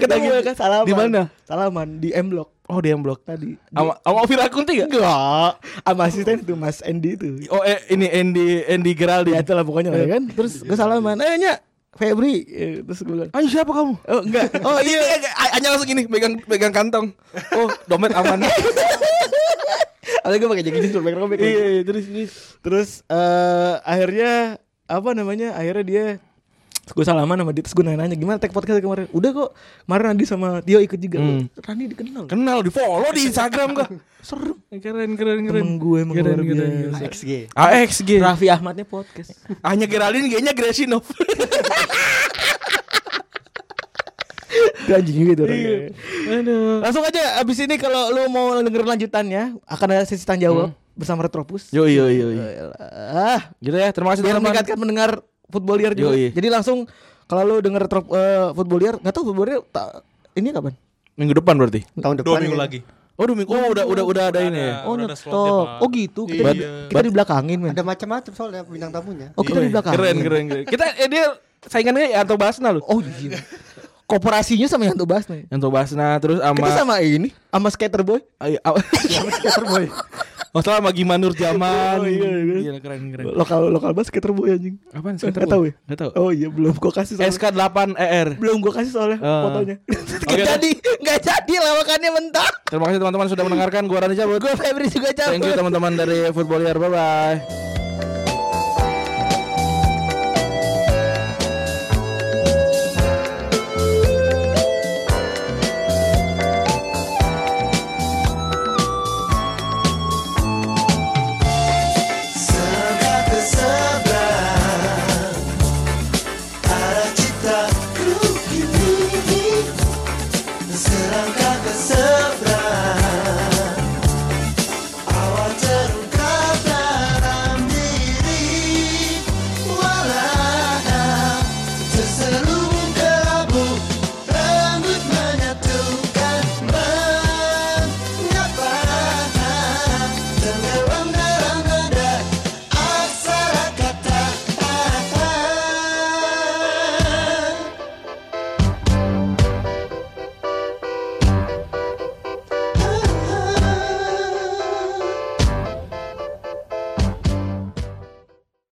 [SPEAKER 5] Kita gitu kan salaman
[SPEAKER 4] Di mana?
[SPEAKER 5] Salaman di M Block
[SPEAKER 4] Oh, dia yang blok.
[SPEAKER 5] tadi
[SPEAKER 4] Sama sama Ovira Kunti nggak?
[SPEAKER 5] Enggak Sama asisten itu Mas Andy itu
[SPEAKER 4] Oh, eh, ini Andy Andy
[SPEAKER 5] Ya
[SPEAKER 4] Geraldine.
[SPEAKER 5] itulah pokoknya lah ya
[SPEAKER 4] Iya.
[SPEAKER 5] kan Terus gue salaman Eh Nya Febri Eh, Terus gue bilang
[SPEAKER 4] Ayo siapa kamu?
[SPEAKER 5] Oh enggak
[SPEAKER 4] [laughs] Oh iya, hanya langsung gini pegang pegang kantong. Oh, dompet aman.
[SPEAKER 5] Awalnya gue pakai jaket jeans robek robek
[SPEAKER 4] iya, iya, terus terus.
[SPEAKER 5] Terus eh akhirnya apa namanya? Akhirnya dia gue salaman sama dia terus gue nanya, gimana tag podcast kemarin udah kok kemarin Randi sama Tio ikut juga
[SPEAKER 4] Hmm.
[SPEAKER 5] Randi dikenal
[SPEAKER 4] [laughs]
[SPEAKER 5] kan?"
[SPEAKER 4] Kenal di follow di Instagram gua.
[SPEAKER 5] serem
[SPEAKER 4] Keren keren
[SPEAKER 5] temen gue emang
[SPEAKER 4] Keren,
[SPEAKER 5] luar
[SPEAKER 4] keren, Iya.
[SPEAKER 5] biasa.
[SPEAKER 6] XG.
[SPEAKER 4] AXG.
[SPEAKER 5] Raffi Ahmadnya [laughs] podcast
[SPEAKER 4] Hanya Geraldine kayaknya Gresinov.
[SPEAKER 5] Dia anjing gitu orangnya.
[SPEAKER 4] Iya.
[SPEAKER 5] Langsung aja abis ini kalau lu mau dengerin lanjutannya akan ada sesi tanya
[SPEAKER 4] Hmm.
[SPEAKER 5] jawab bersama Retropus
[SPEAKER 4] [laughs] Yo yo yo. yo.
[SPEAKER 5] Ah,
[SPEAKER 4] Gitu ya, terima kasih teman-teman.
[SPEAKER 5] biar meningkatkan mendengar footballier juga
[SPEAKER 4] Yoi.
[SPEAKER 5] jadi langsung kalau lu denger Retrop eh, footballier nggak tahu footballier ta- ini kapan
[SPEAKER 4] Minggu depan berarti.
[SPEAKER 6] Tahun
[SPEAKER 3] Dua
[SPEAKER 6] depan.
[SPEAKER 3] minggu
[SPEAKER 6] ini.
[SPEAKER 3] lagi.
[SPEAKER 4] Oh, dua minggu. Oh, udah udah udah ada ini ya.
[SPEAKER 5] Oh
[SPEAKER 3] Udah ada
[SPEAKER 5] nyetok.
[SPEAKER 3] slotnya, Pak.
[SPEAKER 5] Oh gitu. Kita, di,
[SPEAKER 3] Iya.
[SPEAKER 5] kita dibelakangin men.
[SPEAKER 6] Ada macam-macam soalnya bintang tamunya.
[SPEAKER 5] Oh kita
[SPEAKER 4] Iya.
[SPEAKER 5] dibelakangin.
[SPEAKER 4] Keren keren keren. Kita eh, dia saingannya Yanto Basna lu.
[SPEAKER 5] Oh iya. Koperasinya sama yang bahas nih.
[SPEAKER 4] Yanto Basna terus sama
[SPEAKER 5] Kita sama ini, sama skater boy.
[SPEAKER 4] Ay- aw- [laughs] Oh, salah sama Gimanur Jaman.
[SPEAKER 5] Oh, iya, iya.
[SPEAKER 4] Gila, keren keren.
[SPEAKER 5] Lokal lokal bahas skater boy anjing.
[SPEAKER 4] Apaan
[SPEAKER 5] Nggak
[SPEAKER 4] skater boy?
[SPEAKER 5] tahu ya?
[SPEAKER 4] Nggak tahu.
[SPEAKER 5] Oh iya belum gua kasih soalnya.
[SPEAKER 4] SK 8 ER.
[SPEAKER 5] belum gua kasih soalnya
[SPEAKER 4] Ah.
[SPEAKER 5] fotonya. Nggak jadi, nggak jadi lawakannya mentok.
[SPEAKER 4] Terima kasih teman-teman sudah mendengarkan. Gua Rani cabut.
[SPEAKER 5] Gue Febri juga cabut.
[SPEAKER 4] Thank you teman-teman dari Footballier. Bye bye.